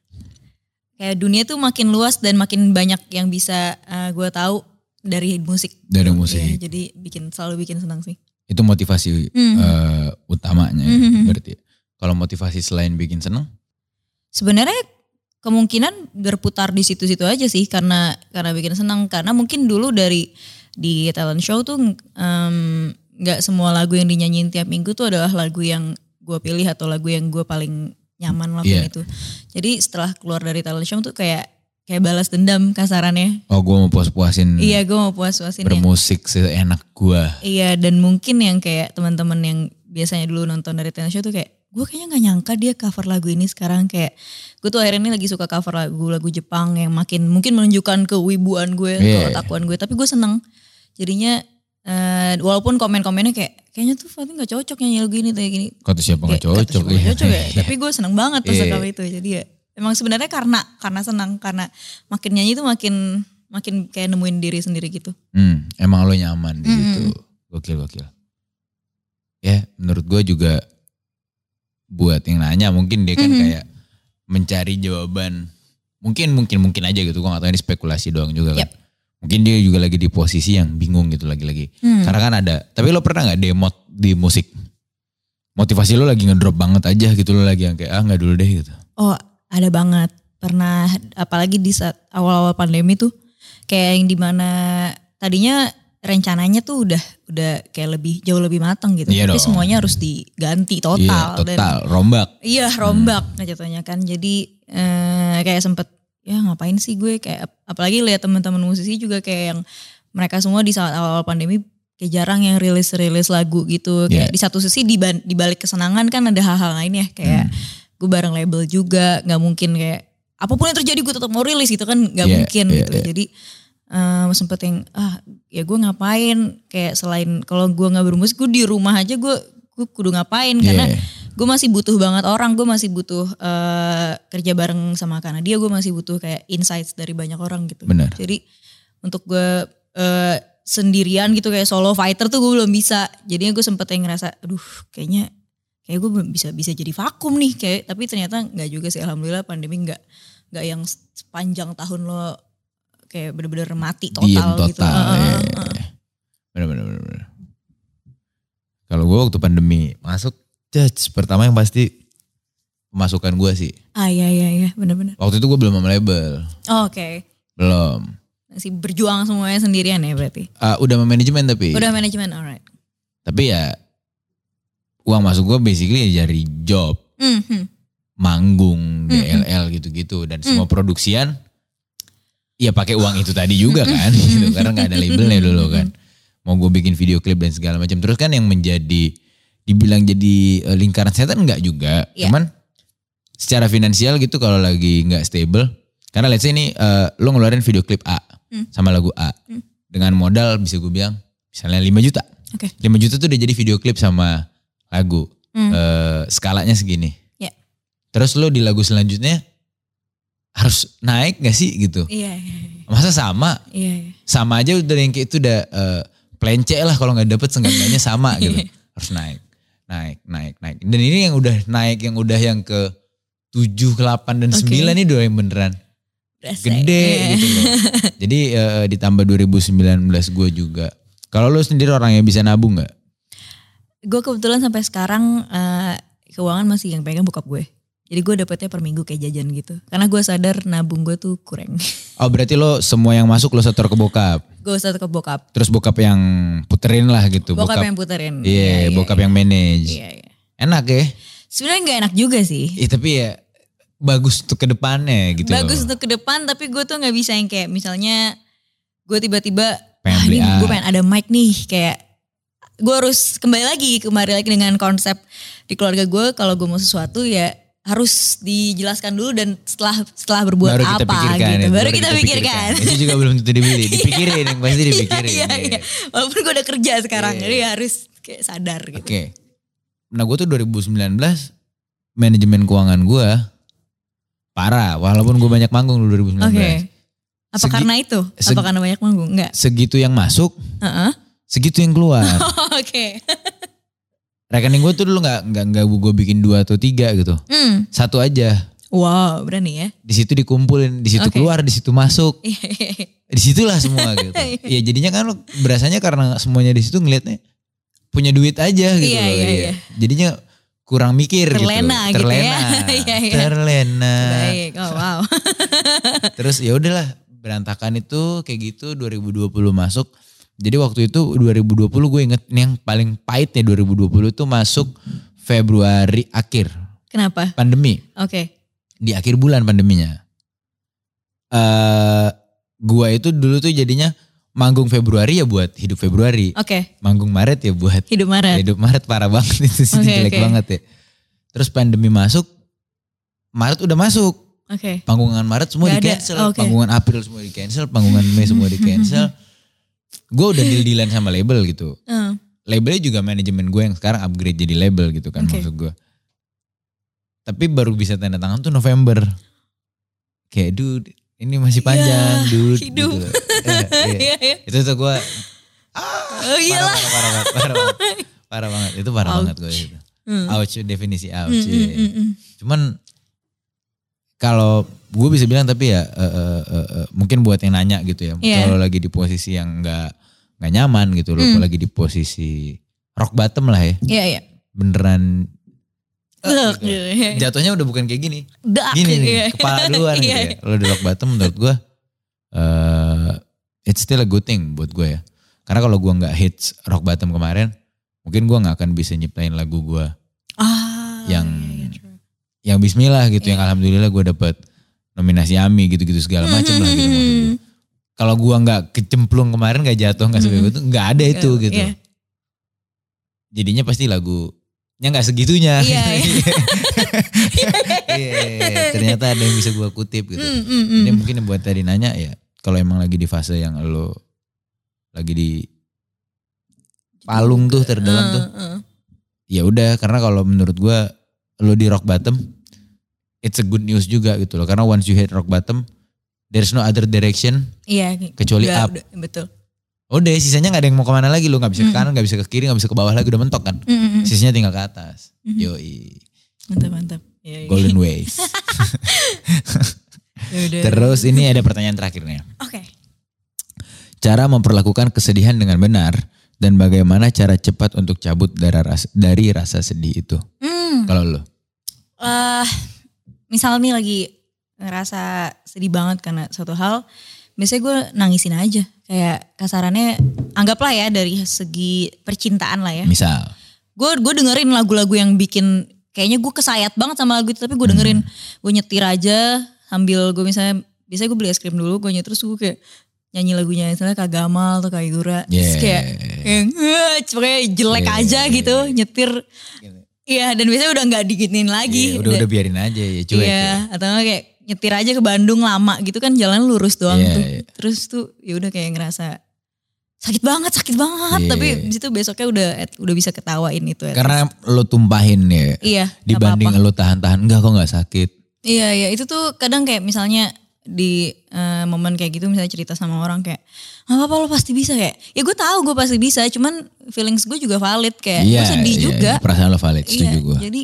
Speaker 2: kayak dunia tuh makin luas dan makin banyak yang bisa gue tahu dari musik.
Speaker 1: Dari
Speaker 2: Iya,
Speaker 1: musik.
Speaker 2: jadi bikin selalu bikin senang sih.
Speaker 1: Itu motivasi
Speaker 2: Mhm.
Speaker 1: eh, utamanya ya,
Speaker 2: Mhm.
Speaker 1: berarti. Kalau motivasi selain bikin seneng,
Speaker 2: Sebenarnya kemungkinan berputar di situ-situ aja sih karena karena bikin senang karena mungkin dulu dari di talent show tuh em, nggak semua lagu yang dinyanyiin tiap minggu tuh adalah lagu yang gue pilih atau lagu yang gue paling nyaman lakuin
Speaker 1: Iya.
Speaker 2: itu. Jadi setelah keluar dari talent show tuh kayak kayak balas dendam kasarannya.
Speaker 1: oh gue mau puas-puasin
Speaker 2: Iya gue mau puas-puasin yang
Speaker 1: bermusik seenak gue.
Speaker 2: Iya dan mungkin yang kayak teman-teman yang biasanya dulu nonton dari Tennis Show tuh kayak gue kayaknya nggak nyangka dia cover lagu ini sekarang kayak gue tuh akhirnya ini lagi suka cover lagu-lagu Jepang yang makin mungkin menunjukkan kewibuan gue,
Speaker 1: Iya.
Speaker 2: keotakuan gue tapi gue seneng jadinya eh, walaupun komen-komennya kayak kayaknya tuh Fatih nggak cocok nyanyi lagu ini kayak gini
Speaker 1: Kata siapa Oh, nggak
Speaker 2: Kayak,
Speaker 1: cocok?
Speaker 2: kata siapa nggak
Speaker 1: iya. <laughs>
Speaker 2: cocok ya. tapi gue seneng banget pas
Speaker 1: Iya.
Speaker 2: sekali itu jadi ya emang sebenarnya karena karena senang karena makin nyanyi tuh makin makin kayak nemuin diri sendiri gitu
Speaker 1: Hmm, emang lo nyaman di
Speaker 2: Mm-mm.
Speaker 1: situ. Gokil, gokil. Ya, menurut gue juga buat yang nanya mungkin dia kan
Speaker 2: Mhm.
Speaker 1: kayak mencari jawaban. Mungkin mungkin mungkin aja gitu. Gue gak tahu ini spekulasi doang juga kan.
Speaker 2: Yap.
Speaker 1: Mungkin dia juga lagi di posisi yang bingung gitu lagi-lagi.
Speaker 2: Hmm.
Speaker 1: Karena kan ada. Tapi lo pernah nggak demot di musik? Motivasi lo lagi ngedrop banget aja gitu lo lagi yang kayak ah nggak dulu deh gitu.
Speaker 2: Oh, ada banget. Pernah apalagi di saat awal-awal pandemi tuh kayak yang dimana tadinya rencananya tuh udah udah kayak lebih jauh lebih matang gitu.
Speaker 1: Iya
Speaker 2: Tapi
Speaker 1: dong.
Speaker 2: semuanya harus diganti
Speaker 1: Iya,
Speaker 2: total. Dan-
Speaker 1: total rombak. Hmm.
Speaker 2: iya rombak nah jatuhnya kan. Jadi eh, kayak sempet ya ngapain sih gue kayak apalagi lihat teman-teman musisi juga kayak yang mereka semua di saat awal-awal pandemi kayak jarang yang rilis-rilis lagu gitu. Kayak
Speaker 1: Iya.
Speaker 2: di satu sisi di ban- di balik kesenangan kan ada hal-hal lain ya kayak
Speaker 1: Hmm.
Speaker 2: gue bareng label juga nggak mungkin kayak apapun yang terjadi gue tetap mau rilis gitu kan nggak
Speaker 1: Iya,
Speaker 2: mungkin
Speaker 1: iya,
Speaker 2: gitu
Speaker 1: iya.
Speaker 2: jadi em, sempet yang ah ya gue ngapain kayak selain kalau gue nggak bermusik gue di rumah aja gue gue kudu ngapain karena
Speaker 1: Iya.
Speaker 2: gue masih butuh banget orang gue masih butuh eh, kerja bareng sama karena dia gue masih butuh kayak insights dari banyak orang gitu
Speaker 1: Benar.
Speaker 2: jadi untuk gue eh, sendirian gitu kayak solo fighter tuh gue belum bisa. Jadinya gue sempet yang ngerasa, aduh kayaknya kayak gue belum bisa bisa jadi vakum nih kayak. Tapi ternyata nggak juga sih. Alhamdulillah pandemi nggak nggak yang sepanjang tahun lo kayak bener-bener mati total,
Speaker 1: Diem
Speaker 2: gitu.
Speaker 1: total.
Speaker 2: Heeh,
Speaker 1: iya.
Speaker 2: heeh.
Speaker 1: Bener, bener, bener, bener. Kalau gue waktu pandemi masuk, judge pertama yang pasti pemasukan gue sih.
Speaker 2: Ah iya iya iya bener-bener.
Speaker 1: Waktu itu gue belum sama label,
Speaker 2: Oke.
Speaker 1: belum.
Speaker 2: Masih berjuang semuanya sendirian ya berarti.
Speaker 1: Ah, udah sama manajemen tapi,
Speaker 2: Udah manajemen alright.
Speaker 1: tapi ya uang masuk gue basically ya dari job,
Speaker 2: Hmm, hmm.
Speaker 1: manggung,
Speaker 2: Mm,
Speaker 1: DLL gitu-gitu dan semua
Speaker 2: Mm.
Speaker 1: produksian ya pakai uang itu tadi juga kan gitu karena nggak ada labelnya dulu kan mau gue bikin video klip dan segala macam terus kan yang menjadi dibilang jadi eh, lingkaran setan nggak juga
Speaker 2: Iya.
Speaker 1: cuman secara finansial gitu kalau lagi nggak stable karena let's say ini eh, lo ngeluarin video klip A
Speaker 2: Mm.
Speaker 1: sama lagu A
Speaker 2: Mm.
Speaker 1: dengan modal bisa gue bilang misalnya 5 juta
Speaker 2: Oke.
Speaker 1: 5 juta tuh udah jadi video klip sama lagu
Speaker 2: Hmm.
Speaker 1: eh, skalanya segini.
Speaker 2: Ya.
Speaker 1: Terus lo di lagu selanjutnya harus naik gak sih gitu?
Speaker 2: Iya iya iya.
Speaker 1: Masa sama?
Speaker 2: Iya, iya.
Speaker 1: Sama aja udah yang kayak itu udah eh, plencek lah kalau nggak dapet seenggaknya sama
Speaker 2: <laughs>
Speaker 1: gitu. Harus naik, naik, naik, naik. Dan ini yang udah naik, yang udah yang ke 7, ke 8, dan
Speaker 2: Oke.
Speaker 1: 9 ini udah yang beneran
Speaker 2: Berasa,
Speaker 1: gede
Speaker 2: iya.
Speaker 1: gitu
Speaker 2: <laughs>
Speaker 1: loh. Jadi eh, ditambah 2019 gue juga. Kalau lo sendiri orang yang bisa nabung gak?
Speaker 2: gue kebetulan sampai sekarang eh, keuangan masih yang pegang bokap gue. Jadi gue dapetnya per minggu kayak jajan gitu. Karena gue sadar nabung gue tuh kurang. <laughs>
Speaker 1: Oh berarti lo semua yang masuk lo setor ke bokap.
Speaker 2: gue usah ke bokap.
Speaker 1: Terus bokap yang puterin lah gitu.
Speaker 2: Bokap,
Speaker 1: Bokap,
Speaker 2: yang puterin.
Speaker 1: Iya, bokap yang manage.
Speaker 2: Iya, iya.
Speaker 1: Enak ya.
Speaker 2: Sebenarnya nggak enak juga sih.
Speaker 1: Ih, tapi ya bagus untuk ke depannya gitu.
Speaker 2: Bagus
Speaker 1: loh.
Speaker 2: untuk ke depan tapi gue tuh nggak bisa yang kayak misalnya gue tiba-tiba
Speaker 1: Pengen
Speaker 2: "Ah,
Speaker 1: beli
Speaker 2: ini
Speaker 1: A."
Speaker 2: gue pengen ada mic nih kayak gue harus kembali lagi kembali lagi dengan konsep di keluarga gue kalau gue mau sesuatu ya harus dijelaskan dulu dan setelah setelah berbuat
Speaker 1: baru
Speaker 2: apa
Speaker 1: kita pikirkan.
Speaker 2: gitu
Speaker 1: itu,
Speaker 2: baru, kita, pikirkan.
Speaker 1: Itu juga belum tentu dibeli. Dipikirin yang pasti dipikirin.
Speaker 2: Iya,
Speaker 1: iya.
Speaker 2: iya. <laughs> Walaupun gue udah kerja sekarang,
Speaker 1: Iya.
Speaker 2: jadi harus kayak sadar
Speaker 1: Oke.
Speaker 2: gitu.
Speaker 1: Nah gue tuh 2019 manajemen keuangan gue parah. Walaupun gue banyak manggung dulu 2019.
Speaker 2: Apa
Speaker 1: Segi-
Speaker 2: karena itu? Apa
Speaker 1: segi-
Speaker 2: karena banyak manggung? Enggak.
Speaker 1: Segitu yang masuk,
Speaker 2: Heeh. <laughs>
Speaker 1: segitu yang keluar.
Speaker 2: Oke.
Speaker 1: Rekening gue tuh dulu nggak nggak nggak gue bikin dua atau tiga gitu.
Speaker 2: Hmm.
Speaker 1: Satu aja.
Speaker 2: Wow, berani ya. <laughs>
Speaker 1: di situ dikumpulin, di situ
Speaker 2: Oke.
Speaker 1: keluar, di situ masuk,
Speaker 2: Iya, iya, iya.
Speaker 1: disitulah
Speaker 2: <laughs>
Speaker 1: semua gitu. ya jadinya kan lo berasanya karena semuanya di situ ngelihatnya punya duit aja gitu
Speaker 2: Iya,
Speaker 1: loh.
Speaker 2: iya,
Speaker 1: iya.
Speaker 2: iya.
Speaker 1: Jadinya kurang mikir
Speaker 2: Terlena
Speaker 1: gitu.
Speaker 2: gitu ya.
Speaker 1: Terlena.
Speaker 2: <laughs> Iya, iya.
Speaker 1: Terlena.
Speaker 2: Baik. Oh, wow. <laughs>
Speaker 1: Terus ya udahlah berantakan itu kayak gitu 2020 masuk. Jadi waktu itu 2020 gue inget ini yang paling pahitnya 2020 tuh masuk Februari akhir
Speaker 2: Kenapa?
Speaker 1: pandemi
Speaker 2: Oke.
Speaker 1: di akhir bulan pandeminya. eh gua itu dulu tuh jadinya manggung Februari ya buat hidup Februari,
Speaker 2: Oke.
Speaker 1: manggung Maret ya buat
Speaker 2: Hidup Maret.
Speaker 1: hidup Maret parah banget itu sih
Speaker 2: Eh. Oke,
Speaker 1: jelek
Speaker 2: oke.
Speaker 1: banget ya. Terus pandemi masuk, Maret udah masuk,
Speaker 2: Oke.
Speaker 1: panggungan Maret semua
Speaker 2: Nggak
Speaker 1: di
Speaker 2: ada,
Speaker 1: cancel,
Speaker 2: oke.
Speaker 1: panggungan April semua di cancel, panggungan Mei semua di
Speaker 2: <laughs>
Speaker 1: cancel. Gue udah deal dealan sama label gitu
Speaker 2: Hmm.
Speaker 1: labelnya juga manajemen gue yang sekarang upgrade jadi label gitu kan
Speaker 2: Oke.
Speaker 1: maksud gue. Tapi baru bisa tanda tangan tuh November. Kayak dude ini masih panjang
Speaker 2: Ya,
Speaker 1: dude.
Speaker 2: hidup.
Speaker 1: Gitu. Iya, iya.
Speaker 2: <laughs> Iya, iya.
Speaker 1: Itu tuh gue
Speaker 2: Oh,
Speaker 1: parah,
Speaker 2: iyalah.
Speaker 1: parah, parah banget. Parah banget. Parah banget. Itu parah
Speaker 2: Ouch.
Speaker 1: banget gue itu.
Speaker 2: Hmm.
Speaker 1: Ouch definisi ouch.
Speaker 2: Hmm,
Speaker 1: iya.
Speaker 2: hmm, hmm, hmm.
Speaker 1: Cuman kalau gue bisa bilang tapi ya eh, eh, eh, eh, mungkin buat yang nanya gitu ya.
Speaker 2: Iya.
Speaker 1: Kalau lagi di posisi yang enggak nggak nyaman gitu loh,
Speaker 2: Hmm.
Speaker 1: kalau lagi di posisi rock bottom lah ya.
Speaker 2: Iya, iya.
Speaker 1: Beneran
Speaker 2: Ugh,
Speaker 1: gitu.
Speaker 2: gitu, iya, iya.
Speaker 1: jatuhnya udah bukan kayak gini.
Speaker 2: Dak,
Speaker 1: Gini
Speaker 2: <laughs> iya.
Speaker 1: nih, kepala duluan gitu
Speaker 2: Iya,
Speaker 1: ya. Kalau di rock bottom menurut gue eh it's still a good thing buat gue ya. Karena kalau gue nggak hits rock bottom kemarin, mungkin gue nggak akan bisa nyiptain lagu gue
Speaker 2: Ah.
Speaker 1: Yang-
Speaker 2: iya, iya, true.
Speaker 1: yang Bismillah gitu,
Speaker 2: Iya.
Speaker 1: yang Alhamdulillah gue dapet nominasi AMI gitu-gitu segala macem lah
Speaker 2: <laughs>
Speaker 1: gitu. maksud gue. Kalau gue nggak kecemplung kemarin, nggak jatuh, nggak
Speaker 2: Mm-mm.
Speaker 1: sebebas itu, nggak ada itu
Speaker 2: Iya.
Speaker 1: gitu. Jadinya pasti lagunya nggak segitunya. <laughs>
Speaker 2: Iya, iya.
Speaker 1: Iya, ternyata ada yang bisa gue kutip gitu.
Speaker 2: Mm, mm,
Speaker 1: Ini
Speaker 2: mm.
Speaker 1: mungkin yang buat tadi nanya ya, kalau emang lagi di fase yang lo lagi di palung tuh terdalam tuh,
Speaker 2: Eh, eh.
Speaker 1: ya udah karena kalau menurut gua lo di rock bottom, it's a good news juga gitu loh. Karena once you hit rock bottom, there's no other direction
Speaker 2: Iya.
Speaker 1: kecuali
Speaker 2: udah-
Speaker 1: up.
Speaker 2: udah, betul.
Speaker 1: Udah, sisanya nggak ada yang mau kemana lagi lo nggak bisa ke kanan, nggak bisa ke kiri, nggak bisa ke bawah lagi udah mentok kan.
Speaker 2: Mm, mm, mm.
Speaker 1: Sisanya tinggal ke atas.
Speaker 2: Mhm.
Speaker 1: Yoi,
Speaker 2: Mantap mantap. Iya, iya. <laughs>
Speaker 1: golden ways.
Speaker 2: Ya udah.
Speaker 1: Terus ini ada pertanyaan terakhir nih.
Speaker 2: Oke.
Speaker 1: cara memperlakukan kesedihan dengan benar dan bagaimana cara cepat untuk cabut dari rasa, dari rasa sedih itu.
Speaker 2: Hmm.
Speaker 1: Kalau lo,
Speaker 2: eh misal nih lagi ngerasa sedih banget karena suatu hal, biasanya gue nangisin aja. Kayak kasarannya, anggaplah ya dari segi percintaan lah ya.
Speaker 1: misal,
Speaker 2: Gue gue dengerin lagu-lagu yang bikin kayaknya gue kesayat banget sama lagu itu, tapi gue dengerin,
Speaker 1: Hmm.
Speaker 2: gue nyetir aja sambil gue misalnya, biasanya gue beli es krim dulu, gue nyetir terus gue kayak nyanyi lagunya misalnya Kak Gamal atau Kak Yura, terus
Speaker 1: Yeah.
Speaker 2: kayak yang "Eh," pokoknya jelek
Speaker 1: Yeah.
Speaker 2: aja gitu, nyetir. Iya, dan biasanya udah nggak diginiin lagi.
Speaker 1: ya, udah udah biarin aja ya cuek. ya.
Speaker 2: Iya, atau enggak kayak nyetir aja ke Bandung lama gitu kan jalan lurus doang
Speaker 1: Iya,
Speaker 2: tuh.
Speaker 1: iya.
Speaker 2: Terus tuh ya udah kayak ngerasa sakit banget, sakit banget,
Speaker 1: Iya. Kan
Speaker 2: tapi di situ besoknya udah at- udah bisa ketawain itu.
Speaker 1: ya.
Speaker 2: at least.
Speaker 1: Karena lo tumpahin ya,
Speaker 2: iya, nggak
Speaker 1: dibanding
Speaker 2: apa-apa.
Speaker 1: lo tahan-tahan, enggak kok nggak sakit.
Speaker 2: Iya, iya, itu tuh kadang kayak misalnya di eh, momen kayak gitu misalnya cerita sama orang kayak apa apa lo pasti bisa kayak ya gue tahu gue pasti bisa cuman feelings gue juga valid kayak
Speaker 1: Iya,
Speaker 2: gue sedih
Speaker 1: iya,
Speaker 2: juga
Speaker 1: iya, perasaan lo valid, setuju
Speaker 2: Iya,
Speaker 1: gue.
Speaker 2: jadi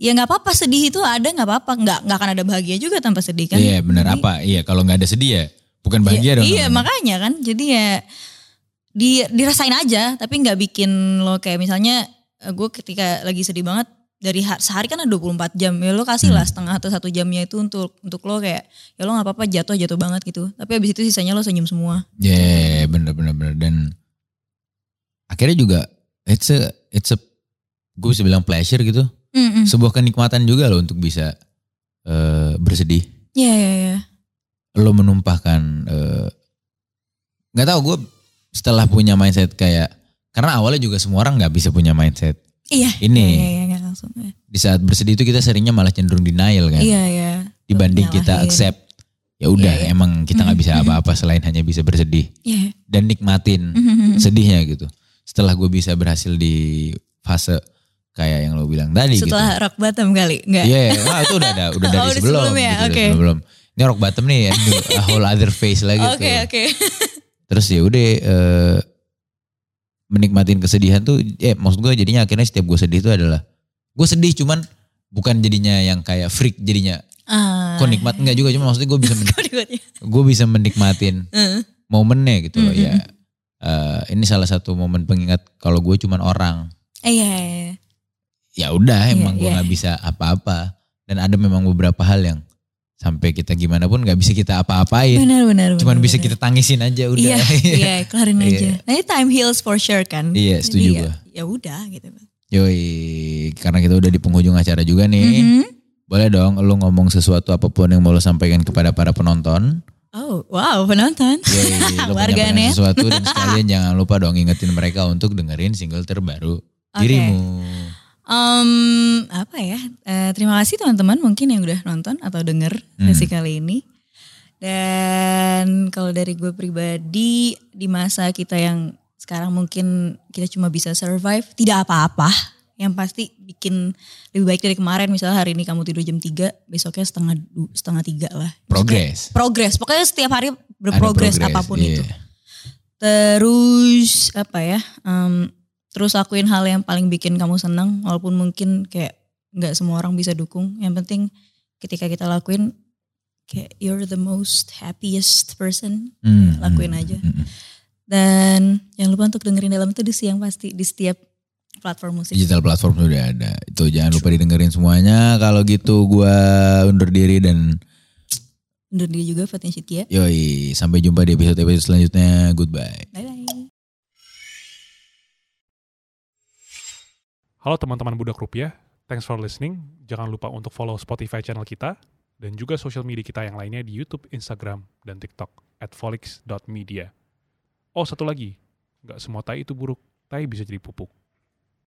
Speaker 2: ya nggak apa-apa sedih itu ada nggak apa-apa nggak nggak akan ada bahagia juga tanpa sedih kan
Speaker 1: Iya benar
Speaker 2: Jadi-
Speaker 1: apa? Iya kalau nggak ada sedih ya, bukan bahagia
Speaker 2: Iya-
Speaker 1: dong.
Speaker 2: Iya makanya kan, jadi ya di, dirasain aja, tapi nggak bikin lo kayak misalnya gue ketika lagi sedih banget dari ha- sehari kan ada 24 jam ya lo kasih lah
Speaker 1: Hmm.
Speaker 2: setengah atau satu jamnya itu untuk untuk lo kayak ya lo nggak apa-apa jatuh jatuh banget gitu tapi abis itu sisanya lo senyum semua
Speaker 1: Iya bener bener bener dan akhirnya juga it's a it's a gue bisa bilang pleasure gitu.
Speaker 2: Hmm. Mm-mm.
Speaker 1: sebuah kenikmatan juga loh untuk bisa eh, bersedih.
Speaker 2: iya iya iya
Speaker 1: Lo menumpahkan eh, nggak tahu gue setelah punya mindset kayak karena awalnya juga semua orang nggak bisa punya mindset
Speaker 2: iya
Speaker 1: Ini. Ya.
Speaker 2: iya iya nggak langsung iya
Speaker 1: di saat bersedih itu kita seringnya malah cenderung denial kan
Speaker 2: iya iya.
Speaker 1: dibanding kita
Speaker 2: Nyalahin.
Speaker 1: accept ya udah
Speaker 2: Iya, iya.
Speaker 1: emang kita nggak bisa
Speaker 2: Mm-mm.
Speaker 1: apa-apa selain hanya bisa bersedih
Speaker 2: iya <laughs>
Speaker 1: dan nikmatin
Speaker 2: Mm-mm.
Speaker 1: sedihnya gitu setelah gue bisa berhasil di fase kayak yang lo bilang tadi gitu
Speaker 2: setelah rock bottom kali nggak
Speaker 1: Iya, wah, itu udah
Speaker 2: <laughs>
Speaker 1: ada, udah dari
Speaker 2: Oh, udah
Speaker 1: sebelum,
Speaker 2: sebelum ya,
Speaker 1: gitu, dari
Speaker 2: oke.
Speaker 1: sebelum. Ini rock bottom nih, and a whole other face lah gitu.
Speaker 2: oke oke
Speaker 1: Terus ya udah eh, menikmatin kesedihan tuh, eh maksud gue jadinya akhirnya setiap gue sedih itu adalah gue sedih cuman bukan jadinya yang kayak freak jadinya
Speaker 2: Ah.
Speaker 1: kok nikmat enggak juga cuma maksudnya gue bisa men-
Speaker 2: <laughs> Kok nikmatnya?
Speaker 1: gue bisa menikmatin
Speaker 2: Heeh.
Speaker 1: momennya gitu loh
Speaker 2: Mm, mm,
Speaker 1: ya Eh, ini salah satu momen pengingat kalau gue cuman orang
Speaker 2: iya iya iya.
Speaker 1: ya udah
Speaker 2: Iya,
Speaker 1: emang gue
Speaker 2: iya.
Speaker 1: nggak bisa apa-apa dan ada memang beberapa hal yang sampai kita gimana pun nggak bisa kita apa-apain
Speaker 2: benar benar
Speaker 1: Gitu. cuman
Speaker 2: benar,
Speaker 1: bisa
Speaker 2: benar.
Speaker 1: kita tangisin aja udah
Speaker 2: Iya, iya, kelarin
Speaker 1: <laughs> Iya.
Speaker 2: aja. Nanti time heals for sure kan.
Speaker 1: Iya,
Speaker 2: Jadi
Speaker 1: setuju
Speaker 2: ya-
Speaker 1: gua.
Speaker 2: Ya udah gitu.
Speaker 1: yoi karena kita udah di penghujung acara juga nih
Speaker 2: Mhm.
Speaker 1: boleh dong lu ngomong sesuatu apapun yang mau lo sampaikan kepada para penonton
Speaker 2: Oh, wow, penonton.
Speaker 1: yoi
Speaker 2: <laughs>
Speaker 1: lo punya
Speaker 2: Warganet.
Speaker 1: pengen sesuatu dan
Speaker 2: <laughs>
Speaker 1: sekalian jangan lupa dong ingetin mereka untuk dengerin single terbaru
Speaker 2: Oke.
Speaker 1: dirimu
Speaker 2: Em, apa ya? Eh, terima kasih teman-teman mungkin yang udah nonton atau denger
Speaker 1: Hmm.
Speaker 2: sesi kali ini. Dan kalau dari gue pribadi di masa kita yang sekarang mungkin kita cuma bisa survive, tidak apa-apa. Yang pasti bikin lebih baik dari kemarin. Misalnya hari ini kamu tidur jam 3, besoknya setengah du- setengah tiga lah.
Speaker 1: progress
Speaker 2: progres. Pokoknya setiap hari
Speaker 1: Ada
Speaker 2: berprogres apapun
Speaker 1: iya.
Speaker 2: itu. Terus apa ya? em, terus lakuin hal yang paling bikin kamu senang walaupun mungkin kayak nggak semua orang bisa dukung. Yang penting ketika kita lakuin kayak you're the most happiest person.
Speaker 1: Hmm,
Speaker 2: Lakuin
Speaker 1: hmm,
Speaker 2: aja.
Speaker 1: hmm, hmm.
Speaker 2: Dan jangan lupa untuk dengerin dalam teduh sih yang pasti di setiap platform musik.
Speaker 1: digital platform sudah ada. Itu jangan lupa didengerin semuanya. Kalau gitu gua undur diri dan
Speaker 2: undur diri juga Fatin Shitkia.
Speaker 1: Yoi, sampai jumpa di episode-episode selanjutnya. Goodbye.
Speaker 2: Bye-bye.
Speaker 3: Halo teman-teman Budak Rupiah, thanks for listening. Jangan lupa untuk follow Spotify channel kita dan juga social media kita yang lainnya di YouTube, Instagram, dan TikTok at folix.media. Oh, satu lagi, nggak semua tai itu buruk, tai bisa jadi pupuk.